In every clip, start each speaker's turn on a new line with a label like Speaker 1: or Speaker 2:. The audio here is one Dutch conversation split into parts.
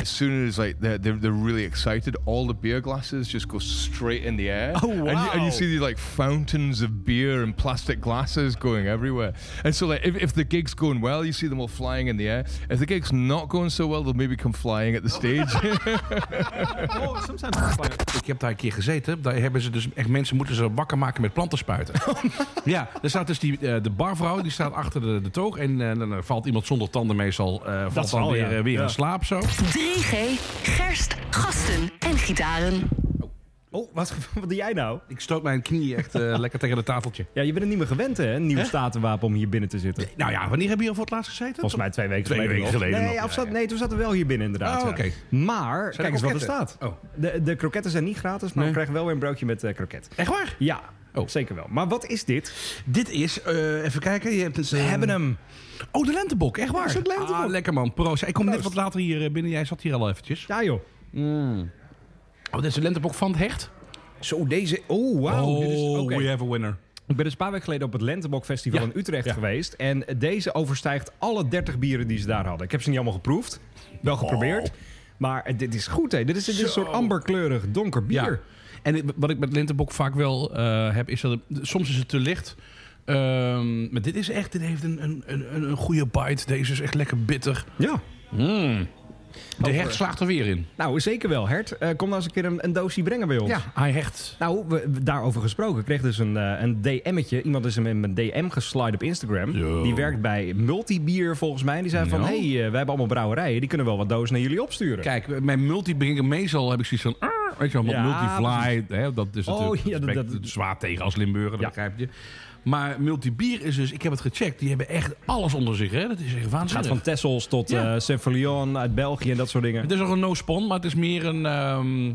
Speaker 1: as soon as like they're, they're, they're really excited, all the beer glasses just go straight in the air.
Speaker 2: Oh,
Speaker 1: And you, and
Speaker 2: wow.
Speaker 1: you see these like fountains of beer and plastic glasses going everywhere. And so like if, if the gig's going well, you see them all flying in the air. If the gig's not going so well, they'll maybe come flying at the stage.
Speaker 2: Oh, sometimes I find it-
Speaker 3: Ik heb daar een keer gezeten. Daar hebben ze dus echt mensen moeten ze wakker maken met plantenspuiten. ja, er staat dus die, eh, de barvrouw, die staat achter de, de toog. En eh, dan eh, valt iemand zonder tanden meestal eh, valt dan
Speaker 2: zal,
Speaker 3: weer,
Speaker 2: ja.
Speaker 3: eh, weer
Speaker 2: Ja.
Speaker 3: in slaap zo.
Speaker 4: 3G, gerst, gasten en gitaren.
Speaker 2: oh wat, wat doe jij nou?
Speaker 3: Ik stoot mijn knie echt eh, lekker tegen het tafeltje.
Speaker 2: Ja, je bent het niet meer gewend, hè? Een nieuw statenwapen om hier binnen te zitten.
Speaker 3: Nou ja, wanneer hebben jullie al voor het laatst gezeten?
Speaker 2: Volgens mij twee weken
Speaker 3: Twee
Speaker 2: geleden.
Speaker 3: weken
Speaker 2: nog.
Speaker 3: geleden
Speaker 2: Nee,
Speaker 3: nog,
Speaker 2: ja, of
Speaker 3: ja,
Speaker 2: zat-
Speaker 3: ja.
Speaker 2: nee, toen zaten we wel hier binnen inderdaad.
Speaker 3: Ah,
Speaker 2: ja.
Speaker 3: oké.
Speaker 2: Maar,
Speaker 3: Zijn
Speaker 2: kijk
Speaker 3: er
Speaker 2: eens wat er
Speaker 3: kroketten?
Speaker 2: staat.
Speaker 3: Oh.
Speaker 2: De, de kroketten zijn niet gratis, maar we krijgen wel weer een broodje met eh kroket.
Speaker 3: Echt waar?
Speaker 2: Ja,
Speaker 3: Oh.
Speaker 2: zeker wel. Maar wat is dit?
Speaker 3: Dit is, eh, even kijken. Je hebt het,
Speaker 2: We hebben hem.
Speaker 3: Oh, de lentebok, echt waar?
Speaker 2: een soort lentebok.
Speaker 3: Ah, lekker man, proost. Ik kom net
Speaker 2: Proost.
Speaker 3: wat later hier eh, binnen. Jij zat hier al eventjes.
Speaker 2: Ja, joh.
Speaker 3: Oh, dit is de lentebok van het hecht?
Speaker 2: Zo, deze... Oh, wauw. dit is- oké.
Speaker 3: have a winner.
Speaker 2: Ik ben dus een paar weken geleden op het Lentebok Festival
Speaker 3: Ja.
Speaker 2: in Utrecht
Speaker 3: Ja.
Speaker 2: geweest. En deze overstijgt alle 30 bieren die ze daar hadden. Ik heb ze niet allemaal geproefd. Wel geprobeerd. Maar eh, dit is goed, hè. Dit is, dit is een soort amberkleurig donker bier.
Speaker 3: Ja. En ik- wat ik met Lentebok vaak wel eh, heb, is dat het- soms is het te licht. Ehm, maar dit is echt, dit heeft een, een, een, een- een goede bite. Deze is echt lekker bitter.
Speaker 2: ja. Hmm.
Speaker 3: De hecht slaagt er weer in.
Speaker 2: Nou, zeker wel, Hert. Eh, kom nou eens een keer een, een doosje brengen bij ons.
Speaker 3: hij hecht.
Speaker 2: Nou, we, we- daarover gesproken. Ik kreeg dus een, eh, een DM'tje. Iemand is hem in mijn DM geslide op Instagram.
Speaker 3: Yo.
Speaker 2: Die werkt bij Multibier volgens mij. Die zei van,
Speaker 3: Nou.
Speaker 2: hey, eh, wij hebben allemaal brouwerijen. Die kunnen wel wat dozen naar jullie opsturen.
Speaker 3: Kijk, mijn multi begin meestal heb ik zoiets van... "Arr", Weet je wel,
Speaker 2: Ja,
Speaker 3: want multi-fly, hè, dat is
Speaker 2: Oh,
Speaker 3: natuurlijk
Speaker 2: ja, dat-
Speaker 3: respect,
Speaker 2: dat-
Speaker 3: zwaar tegen als Limburger, dat
Speaker 2: Ja.
Speaker 3: begrijp je. Maar multi-bier is dus, ik heb het gecheckt, die hebben echt alles onder zich. Hè? Dat is echt
Speaker 2: Het gaat
Speaker 3: waanzinnig.
Speaker 2: van Tessels tot
Speaker 3: Ja.
Speaker 2: eh Saint-Folion uit België en dat soort dingen.
Speaker 3: Het is nog een no-spon, maar het is meer een, ehm,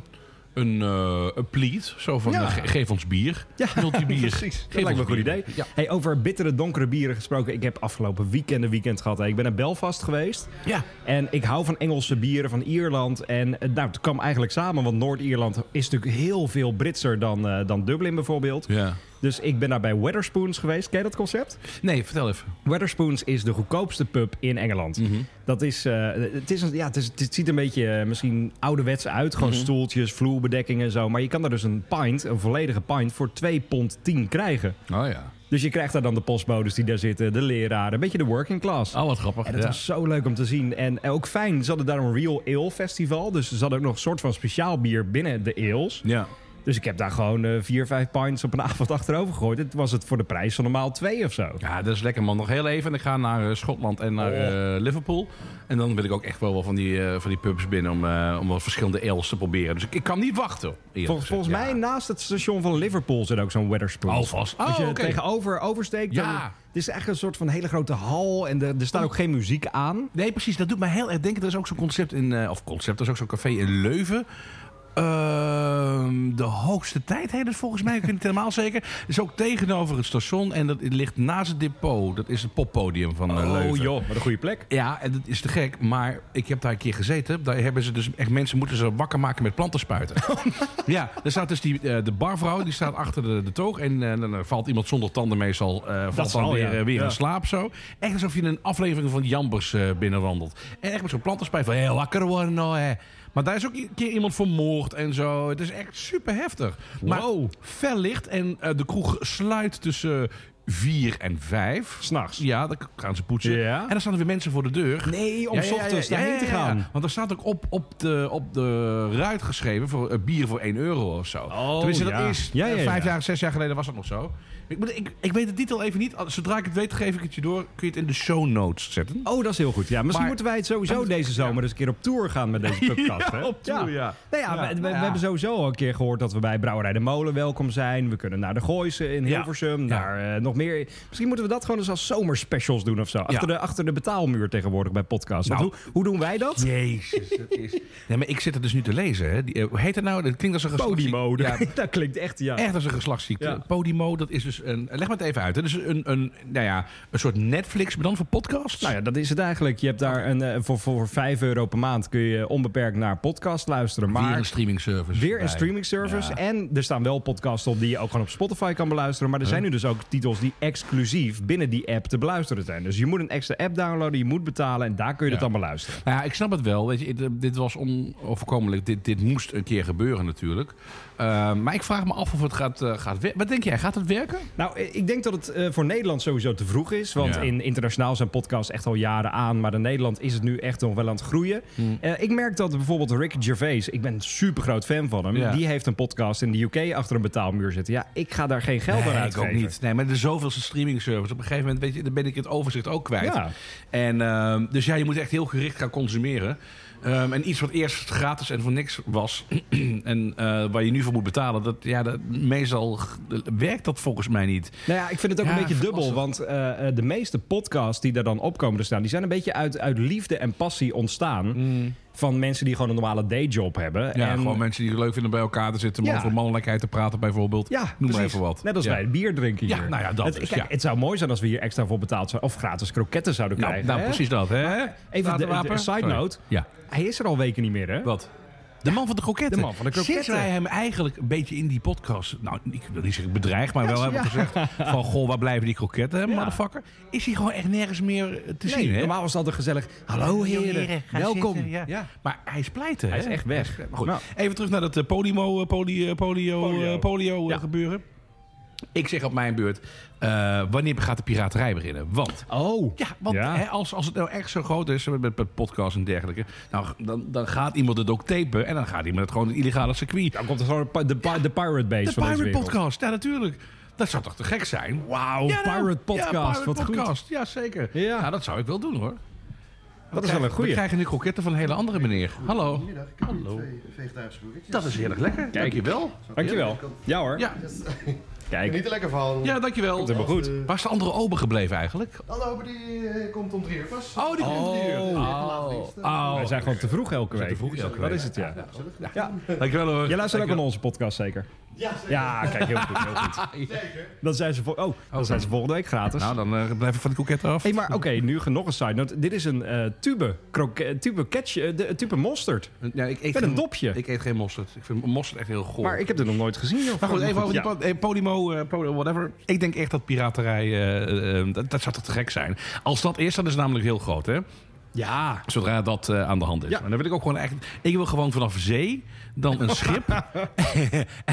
Speaker 3: een, eh, een pleat. Zo van,
Speaker 2: Ja.
Speaker 3: eh, ge- geef ons bier.
Speaker 2: Ja,
Speaker 3: Multibier.
Speaker 2: precies.
Speaker 3: Geef
Speaker 2: Dat lijkt me
Speaker 3: ons
Speaker 2: een goed
Speaker 3: bier.
Speaker 2: idee.
Speaker 3: Ja.
Speaker 2: Hey, over bittere, donkere bieren gesproken. Ik heb afgelopen weekend een weekend gehad. hè. Ik ben naar Belfast geweest.
Speaker 3: Ja.
Speaker 2: En ik hou van Engelse bieren, van Ierland. En eh, nou, het kwam eigenlijk samen, want Noord-Ierland is natuurlijk heel veel Britser dan, eh, dan Dublin bijvoorbeeld.
Speaker 3: ja.
Speaker 2: Dus ik ben daar bij Wetherspoons geweest. Ken je dat concept?
Speaker 3: Nee, vertel even.
Speaker 2: Wetherspoons is de goedkoopste pub in Engeland.
Speaker 3: Mhm.
Speaker 2: Dat is, eh, het, is een, ja, het, is, het ziet een beetje eh, misschien ouderwets uit. Gewoon
Speaker 3: Mhm.
Speaker 2: stoeltjes, vloerbedekking en zo. Maar je kan daar dus een pint, een volledige pint, voor 2 pond 10 krijgen.
Speaker 3: Oh ja.
Speaker 2: Dus je krijgt daar dan de postbodes die daar zitten, de leraren, een beetje de working class.
Speaker 3: Oh, wat grappig.
Speaker 2: En dat
Speaker 3: ja.
Speaker 2: was zo leuk om te zien. En eh, ook fijn, ze hadden daar een Real Ale Festival. Dus ze hadden ook nog een soort van speciaal bier binnen de ales.
Speaker 3: ja.
Speaker 2: Dus ik heb daar gewoon eh, vier, vijf pints op een avond achterover gegooid. Het was het voor de prijs van normaal twee of zo.
Speaker 3: Ja, dat is lekker man. Nog heel even en ik ga naar eh, Schotland en naar
Speaker 2: Oh.
Speaker 3: eh, Liverpool. En dan wil ik ook echt wel wel van die, eh, van die pubs binnen om, eh, om wat verschillende ales te proberen. Dus ik, ik kan niet wachten. eerlijk
Speaker 2: Vol-
Speaker 3: gezegd.
Speaker 2: volgens
Speaker 3: Ja.
Speaker 2: mij naast het station van Liverpool zit ook zo'n Wetherspoon.
Speaker 3: Alvast.
Speaker 2: Als
Speaker 3: Oh,
Speaker 2: je
Speaker 3: oké.
Speaker 2: tegenover oversteekt, dan-
Speaker 3: Ja.
Speaker 2: het is echt een soort van hele grote hal en er, er staat ook geen muziek aan.
Speaker 3: Nee, precies. Dat doet mij heel erg denken. Er is ook zo'n concept in. eh, of concept, er is ook zo'n café in Leuven. Ehm, de hoogste tijd heet het volgens mij. Ik weet het niet helemaal zeker. Is ook tegenover het station. En dat ligt naast het depot. Dat is het poppodium van eh, Leuven.
Speaker 2: Oh, wat een goede plek.
Speaker 3: Ja, en dat is te gek. Maar ik heb daar een keer gezeten. Daar hebben ze dus echt mensen moeten ze wakker maken met plantenspuiten.
Speaker 2: Oh,
Speaker 3: ja, daar staat dus die, eh, de barvrouw. Die staat achter de, de toog. En eh, dan eh, valt iemand zonder tanden meestal. eh, valt dan
Speaker 2: zal,
Speaker 3: weer,
Speaker 2: ja.
Speaker 3: eh, weer
Speaker 2: Ja.
Speaker 3: in slaap zo. Echt alsof je een aflevering van Jambers eh, binnenwandelt. En echt met zo'n plantenspuit van... Hé, wakker worden nou, hè. Maar daar is ook een keer iemand vermoord en zo. Het is echt super heftig. Maar
Speaker 2: Wow.
Speaker 3: fel licht en eh, de kroeg sluit tussen eh, vier en vijf.
Speaker 2: S'nachts.
Speaker 3: Ja, dan gaan ze poetsen.
Speaker 2: Ja.
Speaker 3: En dan staan er weer mensen voor de deur.
Speaker 2: Nee, om
Speaker 3: Ja,
Speaker 2: s
Speaker 3: ja, ja,
Speaker 2: ochtends
Speaker 3: ja,
Speaker 2: daarheen
Speaker 3: ja,
Speaker 2: te
Speaker 3: ja, ja.
Speaker 2: gaan.
Speaker 3: Want er staat ook op, op, de, op de ruit geschreven voor eh, bier voor 1 euro of zo.
Speaker 2: Oh,
Speaker 3: Tenminste, dat
Speaker 2: ja.
Speaker 3: is
Speaker 2: Ja, ja,
Speaker 3: eh, vijf
Speaker 2: ja.
Speaker 3: jaar, zes jaar geleden was dat nog zo. Ik, moet- ik, ik weet het detail even niet. Als- Zodra ik het weet, geef ik het je door. Kun je het in de show notes zetten.
Speaker 2: Oh, dat is heel goed. Ja, misschien
Speaker 3: Maar-
Speaker 2: moeten wij het sowieso deze zomer eens een keer op tour gaan met deze podcast. hè?
Speaker 3: op tour, ja.
Speaker 2: Nou ja,
Speaker 3: Ja,
Speaker 2: we, we-
Speaker 3: nou ja.
Speaker 2: we hebben sowieso al een keer gehoord dat we bij Brouwerij de Molen welkom zijn. We kunnen naar de Gooise in Hilversum, naar eh, nog meer. Misschien moeten we dat gewoon eens als zomerspecials doen of zo. Achter, de, achter de betaalmuur tegenwoordig bij podcasts. Want
Speaker 3: Nou.
Speaker 2: hoe, hoe doen wij dat?
Speaker 3: Jezus, dat is... Nee, maar ik zit er dus nu te lezen. Hè. Die, eh, hoe heet het nou? Dat klinkt als een geslachtsziek-
Speaker 2: Podimo.
Speaker 3: Ja,
Speaker 2: dat klinkt echt, ja.
Speaker 3: Echt als een geslachtsziekte.
Speaker 2: Ja.
Speaker 3: Podimo, dat is dus een... Leg maar het even uit. hè. Dat is een, een, nou ja, een soort Netflix, maar dan voor podcasts.
Speaker 2: Nou ja, dat is het eigenlijk. Je hebt daar een, eh, voor, voor 5 euro per maand kun je onbeperkt naar podcast luisteren. Maar
Speaker 3: Weer een streaming service.
Speaker 2: Weer een streaming service. En er staan wel podcasts op die je ook gewoon op Spotify kan beluisteren. Maar er zijn nu dus ook titels die die exclusief binnen die app te beluisteren zijn. Dus je moet een extra app downloaden, je moet betalen en daar kun je
Speaker 1: Ja.
Speaker 2: het dan beluisteren.
Speaker 3: Nou ja, ik snap het wel. Weet je, dit- dit was onoverkomelijk. Dit, dit moest een keer gebeuren natuurlijk. Eh, maar ik vraag me af of het gaat, eh, gaat werken. Wat denk jij? Gaat het werken?
Speaker 2: Nou, eh, ik denk dat het eh, voor Nederland sowieso te vroeg is. Want
Speaker 3: Ja.
Speaker 2: in internationaal zijn podcasts echt al jaren aan. Maar in Nederland is het nu echt nog wel aan het groeien.
Speaker 3: Hm.
Speaker 2: Eh, ik merk dat bijvoorbeeld Rick Gervais, ik ben een super groot fan van hem.
Speaker 3: Ja.
Speaker 2: Die heeft een podcast in de UK achter een betaalmuur zitten. Ja, ik ga daar geen geld aan
Speaker 3: nee, ik
Speaker 2: uitgeven.
Speaker 3: ook niet. Nee, maar er is zoveelste streaming service. Op een gegeven moment weet je, dan ben ik het overzicht ook kwijt.
Speaker 2: Ja.
Speaker 3: En, ehm, dus ja, je moet echt heel gericht gaan consumeren. Ehm, en iets wat eerst gratis en voor niks was... en eh, waar je nu voor moet betalen... Dat, ja, dat, meestal g- werkt dat volgens mij niet.
Speaker 2: Nou ja, ik vind het ook
Speaker 3: Ja,
Speaker 2: een beetje dubbel.
Speaker 3: verrassend.
Speaker 2: Want eh, eh, de meeste podcasts die daar dan op komen te staan... die zijn een beetje uit, uit liefde en passie ontstaan. Van mensen die gewoon een normale dayjob hebben.
Speaker 3: Mm. Ja,
Speaker 2: Mm. en,
Speaker 3: gewoon mensen die het leuk vinden bij elkaar te zitten... om
Speaker 2: Ja.
Speaker 3: over mannelijkheid te praten bijvoorbeeld.
Speaker 2: ja,
Speaker 3: Noem maar
Speaker 2: precies.
Speaker 3: even wat.
Speaker 2: Net als
Speaker 3: Ja.
Speaker 2: wij bier drinken hier.
Speaker 3: Ja, nou ja, dat
Speaker 2: het,
Speaker 3: dus,
Speaker 2: kijk,
Speaker 3: ja.
Speaker 2: Het zou mooi zijn als we hier extra voor betaald zouden... of gratis kroketten zouden
Speaker 3: Nou,
Speaker 2: krijgen.
Speaker 3: nou,
Speaker 2: hè?
Speaker 3: precies dat. Hè?
Speaker 2: Even de, de-
Speaker 3: Wapen?
Speaker 2: de side
Speaker 3: Sorry.
Speaker 2: note.
Speaker 3: Ja.
Speaker 2: Hij is er al weken niet meer, hè?
Speaker 3: Wat? De man van de kroketten.
Speaker 2: De man van de kroketten.
Speaker 3: Sinds wij hem eigenlijk een beetje in die podcast... Nou, ik wil niet zeggen bedreigd, maar wel hebben gezegd... van, goh, waar blijven die kroketten, hè, motherfucker? Is hij gewoon echt nergens meer eh, te
Speaker 2: Nee,
Speaker 3: zien, hè?
Speaker 2: normaal was het altijd gezellig. Hallo heren, welkom.
Speaker 3: ja.
Speaker 2: ja.
Speaker 3: Maar hij is pleiten,
Speaker 2: Hij is echt weg.
Speaker 3: Maar goed,
Speaker 2: Nou.
Speaker 3: even terug naar dat eh, polimo, eh, poli- eh, polio, eh, polio,
Speaker 2: Polio.
Speaker 3: eh,
Speaker 2: Ja.
Speaker 3: gebeuren. Ik zeg op mijn beurt, eh, wanneer gaat de piraterij beginnen? Want
Speaker 2: Oh,
Speaker 3: ja, want
Speaker 2: Ja.
Speaker 3: Hè, als, als het nou echt zo groot is met, met, met podcasts en dergelijke... Nou, dan, dan gaat iemand het ook tapen en dan gaat iemand het gewoon het illegale circuit.
Speaker 2: dan komt er gewoon de, pi- de, pi- de Pirate Base
Speaker 3: de
Speaker 2: van deze
Speaker 3: Pirate
Speaker 2: wereld.
Speaker 3: Podcast, ja natuurlijk. Dat zou toch te gek zijn?
Speaker 2: Wauw,
Speaker 3: Ja, nou,
Speaker 2: Pirate
Speaker 3: ja,
Speaker 2: Podcast,
Speaker 3: Pirate
Speaker 2: wat goed.
Speaker 3: podcast. Ja, zeker.
Speaker 2: Ja.
Speaker 3: Nou, dat zou ik wel doen hoor.
Speaker 2: Dat is wel een
Speaker 3: We
Speaker 2: goeie.
Speaker 3: krijgen nu kroketten van een hele andere meneer. Hallo.
Speaker 5: Goedemiddag, ik heb hier twee vegetarische broertjes.
Speaker 3: Dat is heel erg lekker. Dankjewel.
Speaker 2: Dankjewel. Ja hoor.
Speaker 3: Ja,
Speaker 2: Kijk.
Speaker 5: Niet te lekker verhaal.
Speaker 3: ja dankjewel.
Speaker 2: helemaal goed.
Speaker 3: Waar is de andere ober gebleven eigenlijk?
Speaker 5: Hallo, maar die eh, komt om drie uur pas.
Speaker 3: Oh, die komt hier.
Speaker 5: Oh.
Speaker 3: Oh,
Speaker 2: Wij zijn gewoon te vroeg elke week.
Speaker 3: vroeg elke
Speaker 2: Dat
Speaker 3: week.
Speaker 2: is het, ja. ja.
Speaker 3: dankjewel hoor.
Speaker 2: Jij luistert ook
Speaker 3: Dankjewel.
Speaker 2: naar onze podcast, zeker?
Speaker 5: Ja, zeker.
Speaker 2: Ja, kijk, heel goed. Heel goed. Dan zijn ze, vol- oh, dan zijn ze volgende week gratis.
Speaker 3: Nou, dan eh, blijf ik van de kroketten af.
Speaker 2: Hé, maar oké, nu nog een side note. Dit is een eh, tube, kroke, tube, catch, eh, de, tube mosterd.
Speaker 3: Eh, Ja, ik eet
Speaker 2: Met een
Speaker 3: geen-
Speaker 2: dopje.
Speaker 3: Ik eet geen mosterd. Ik vind mosterd echt heel goor.
Speaker 2: Maar ik heb dit nog nooit gezien. Of
Speaker 3: Oh. Maar goed, even over die
Speaker 2: Ja.
Speaker 3: pod- eh, Podimo, eh, Podimo, whatever. Ik denk echt dat piraterij, eh, eh, dat, dat zou toch te gek zijn. Als dat is, dan is het namelijk heel groot, hè?
Speaker 2: Ja.
Speaker 3: Zodra dat eh, aan de hand is.
Speaker 2: Ja.
Speaker 3: En dan wil ik ook gewoon echt... Ik wil gewoon vanaf zee, dan een schip.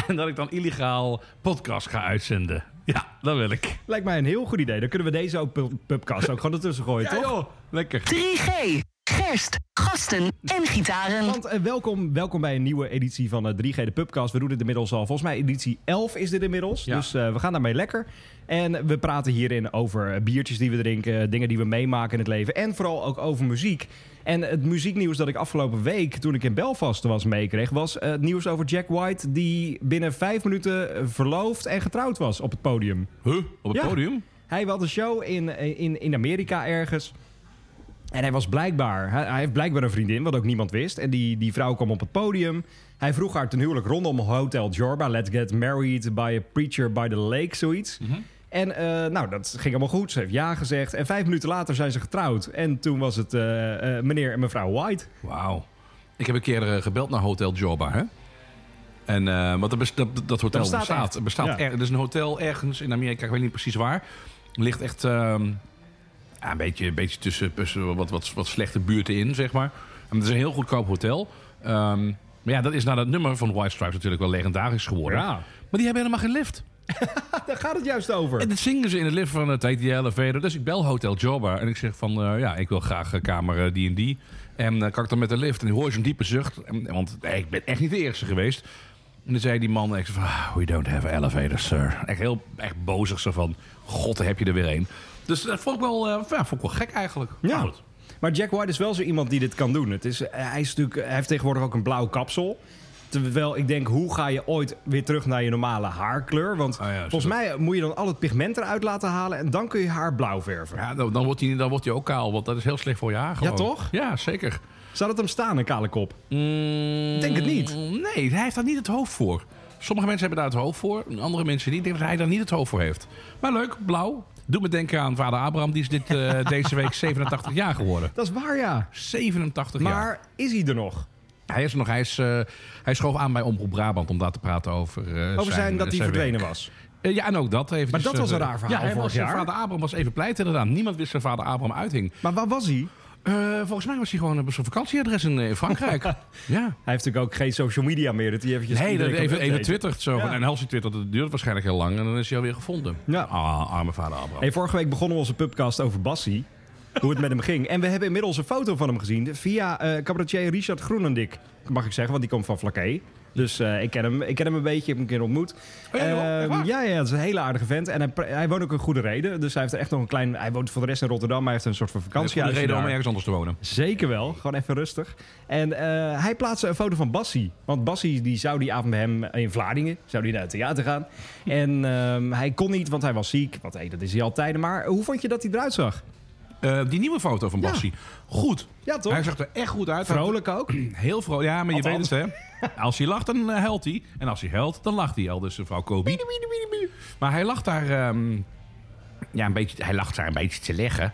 Speaker 3: en dat ik dan illegaal podcast ga uitzenden. Ja, dat wil ik.
Speaker 2: Lijkt mij een heel goed idee. Dan kunnen we deze ook pub- pubcast ook gewoon ertussen gooien, toch?
Speaker 3: lekker.
Speaker 4: 3G, gerst, gasten en gitaren.
Speaker 2: Want eh, welkom, welkom bij een nieuwe editie van eh, 3G de Pubcast. We doen dit inmiddels al, volgens mij editie 11 is dit inmiddels.
Speaker 3: Ja.
Speaker 2: Dus eh, we gaan daarmee lekker. En we praten hierin over eh, biertjes die we drinken, dingen die we meemaken in het leven. En vooral ook over muziek. En het muzieknieuws dat ik afgelopen week, toen ik in Belfast was, meekreeg... was eh, het nieuws over Jack White, die binnen vijf minuten eh, verloofd en getrouwd was op het podium.
Speaker 3: Huh? Op het
Speaker 2: Ja.
Speaker 3: podium?
Speaker 2: Hij had een show in, eh, in, in Amerika ergens. En hij was blijkbaar, hij, hij heeft blijkbaar een vriendin, wat ook niemand wist. En die, die vrouw kwam op het podium. Hij vroeg haar ten huwelijk rondom Hotel Jorba. Let's get married by a preacher by the lake, zoiets. En eh, nou, dat ging allemaal goed. Ze heeft ja gezegd. En vijf minuten later zijn ze getrouwd. En toen was het eh, eh, meneer en mevrouw White.
Speaker 3: Wauw. Ik heb een keer eh, gebeld naar Hotel Joba, hè? En, eh, want dat, bes- dat, dat hotel
Speaker 2: Dat bestaat
Speaker 3: bestaat.
Speaker 2: echt.
Speaker 3: Er bestaat
Speaker 2: Ja.
Speaker 3: er, er is een hotel ergens in Amerika, ik weet niet precies waar. Ligt echt ehm, ja, een, beetje, een beetje tussen, tussen wat, wat, wat slechte buurten in, zeg maar. En het is een heel goedkoop hotel. Ehm, maar ja, dat is na dat nummer van White Stripes natuurlijk wel legendarisch geworden.
Speaker 2: Ja.
Speaker 3: Maar die hebben helemaal geen lift.
Speaker 2: Daar gaat het juist over.
Speaker 3: En dat zingen ze in het lift van het heet die elevator. Dus ik bel Hotel Joba en ik zeg van... eh, ja, ik wil graag eh, kamer eh, die en die. En eh, kan ik dan met de lift? En dan hoor je zo'n diepe zucht. En- want eh, ik ben echt niet de eerste geweest. En dan zei die man, ik zeg van... "Ah, We don't have elevators, sir. Echt heel echt bozig zo van... God, daar heb je er weer een. Dus dat vond ik wel, eh, ja, vond ik wel gek eigenlijk.
Speaker 2: Ja.
Speaker 3: Maar goed.
Speaker 2: Maar Jack White is wel zo iemand die dit kan doen. Het is, eh, hij, is natuurlijk, hij heeft tegenwoordig ook een blauw kapsel. Terwijl ik denk, hoe ga je ooit weer terug naar je normale haarkleur? Want
Speaker 3: Ah ja,
Speaker 2: volgens mij moet je dan al het pigment eruit laten halen... en dan kun je haar blauw verven.
Speaker 3: Ja, dan, dan wordt hij dan wordt hij ook kaal, want dat is heel slecht voor je haar gewoon.
Speaker 2: toch?
Speaker 3: Ja, zeker. Mm,
Speaker 2: Zou dat hem staan, een kale kop?
Speaker 3: Ik
Speaker 2: Denk het niet.
Speaker 3: Nee, hij heeft daar niet het hoofd voor. Sommige mensen hebben daar het hoofd voor, en andere mensen niet. Ik denk dat hij daar niet het hoofd voor heeft. Maar leuk, blauw. Doe me denken aan vader Abraham, die is dit, eh, deze week 87 jaar geworden.
Speaker 2: Dat is waar, ja.
Speaker 3: 87 jaar.
Speaker 2: Maar is hij er nog?
Speaker 3: Hij, is er nog, hij, is, eh, hij schoof aan bij Omroep Brabant om daar te praten over, eh,
Speaker 2: Over zijn dat hij
Speaker 3: werk.
Speaker 2: verdwenen was.
Speaker 3: Eh, ja, en ook dat. Eventjes,
Speaker 2: Maar dat
Speaker 3: eh,
Speaker 2: was een raar verhaal
Speaker 3: Ja, hij
Speaker 2: vorig
Speaker 3: was, zijn
Speaker 2: jaar.
Speaker 3: vader Abraham was even pleit inderdaad. Niemand wist waar vader Abraham uithing.
Speaker 2: Maar waar was hij?
Speaker 3: Eh, volgens mij was hij gewoon op zijn vakantieadres in, eh, in Frankrijk. ja.
Speaker 2: Hij heeft natuurlijk ook geen social media meer. Dat hij eventjes
Speaker 3: Nee, dat
Speaker 2: Dus iedereen kan
Speaker 3: even, even
Speaker 2: updaten.
Speaker 3: twittert zo.
Speaker 2: Ja.
Speaker 3: En als hij twittert, dat duurt waarschijnlijk heel lang. En dan is hij alweer gevonden.
Speaker 2: Ja.
Speaker 3: Ah, arme vader Abraham.
Speaker 2: Hey, vorige week begonnen we onze podcast over Bassie. Hoe het met hem ging. En we hebben inmiddels een foto van hem gezien. Via eh cabaretier Richard Groenendik. Mag ik zeggen, want die komt van Vlakke. Dus eh, ik, ken hem, ik ken hem een beetje. Ik heb hem een keer ontmoet.
Speaker 3: Oh ja, joh, echt
Speaker 2: Ehm,
Speaker 3: waar?
Speaker 2: ja, ja, dat is een hele aardige vent. En hij, pra- hij woont ook een goede reden. Dus hij heeft er echt nog een klein. Hij woont voor de rest in Rotterdam. Maar hij heeft een soort van
Speaker 3: Dat is
Speaker 2: vakantie.
Speaker 3: de reden om ergens anders te wonen.
Speaker 2: Zeker wel. Gewoon even rustig. En eh, hij plaatste een foto van Bassie. Want Bassie die zou die avond bij hem in Vlaardingen zou die naar het theater gaan. En ehm, hij kon niet, want hij was ziek. Want hey, dat is hij altijd. Maar hoe vond je dat hij eruit zag?
Speaker 3: Eh, die nieuwe foto van
Speaker 2: Ja.
Speaker 3: Bassie. Goed.
Speaker 2: Ja, toch?
Speaker 3: Hij zag er echt goed uit.
Speaker 2: Vrolijk ook.
Speaker 3: Heel vrolijk. Ja, maar je
Speaker 2: Althans.
Speaker 3: weet het, hè. Als hij lacht, dan eh, huilt hij. En als hij huilt, dan lacht hij. Al dus mevrouw Kobi. Maar hij lacht daar... ehm, ja, een beetje, hij lacht daar een beetje te leggen.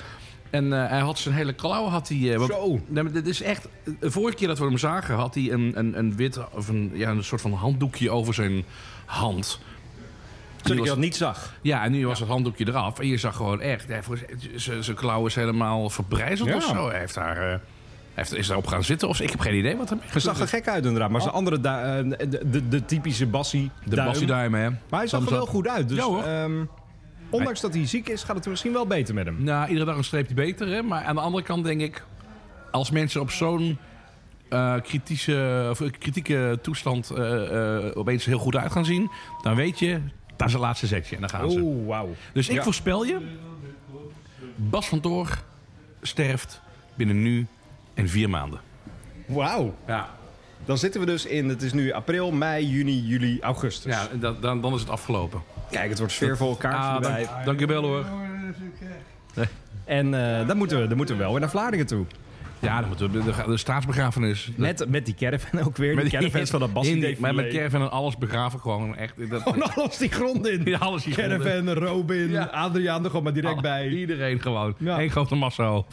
Speaker 3: En eh, hij had zijn hele klauw... Had hij, eh, want-
Speaker 2: Zo.
Speaker 3: Nee, maar dit is echt... De vorige keer dat we hem zagen, had hij een, een, een wit... Of een, ja, een soort van handdoekje over zijn hand.
Speaker 2: Zodat je dat niet zag.
Speaker 3: Ja, en nu was het handdoekje eraf. En je zag gewoon echt... hè, voor- z- Zijn klauw is helemaal verbrijzeld
Speaker 2: Ja.
Speaker 3: of zo. Hij heeft daar... eh, hij heeft, is daarop gaan zitten of zo. Ik heb geen idee wat er mee
Speaker 2: Hij zag er gek uit inderdaad. Maar zijn andere... du- eh, de, de, de typische Bassie
Speaker 3: Oh. De
Speaker 2: duim.
Speaker 3: Bassie Duim, hè?
Speaker 2: Maar hij zag er
Speaker 3: Thumbs
Speaker 2: wel
Speaker 3: up.
Speaker 2: goed uit. Dus,
Speaker 3: Ja, hoor.
Speaker 2: ehm, ondanks dat hij ziek is, gaat het er misschien wel beter met hem.
Speaker 3: Nou, iedere dag een streepje beter, hè? Maar aan de andere kant denk ik... Als mensen op zo'n eh, kritische, of, eh, kritieke toestand eh, eh, opeens heel goed uit gaan zien... dan weet je, dat is het laatste zetje. En dan gaan ze.
Speaker 2: Oh, wauw.
Speaker 3: Dus ik
Speaker 2: Ja.
Speaker 3: voorspel je... Bas van Toor sterft binnen nu en vier maanden.
Speaker 2: Wauw.
Speaker 3: Ja,
Speaker 2: Dan zitten we dus in, het is nu april, mei, juni, juli, augustus.
Speaker 3: ja en dat- dan, dan is het afgelopen.
Speaker 2: Kijk, het wordt sfeervol, kaartje
Speaker 3: Ah,
Speaker 2: erbij.
Speaker 3: dank, dankjewel hoor.
Speaker 2: En eh dan, moeten we, dan moeten we wel weer naar Vlaardingen toe.
Speaker 3: Ja, dan moeten we- de, de staatsbegrafenis.
Speaker 2: Met, met die caravan ook weer. die caravans van dat
Speaker 3: in die-
Speaker 2: Bassie
Speaker 3: Met mijn caravan en alles begraven gewoon. Echt, dat,
Speaker 2: Oh, alles die grond in.
Speaker 3: Ja, alles die grond in.
Speaker 2: Caravan, Robin,
Speaker 3: Ja. Oh,
Speaker 2: Adriaan er gewoon maar direct
Speaker 3: Alle-
Speaker 2: bij.
Speaker 3: Iedereen gewoon.
Speaker 2: Ja.
Speaker 3: Eén grote massa op.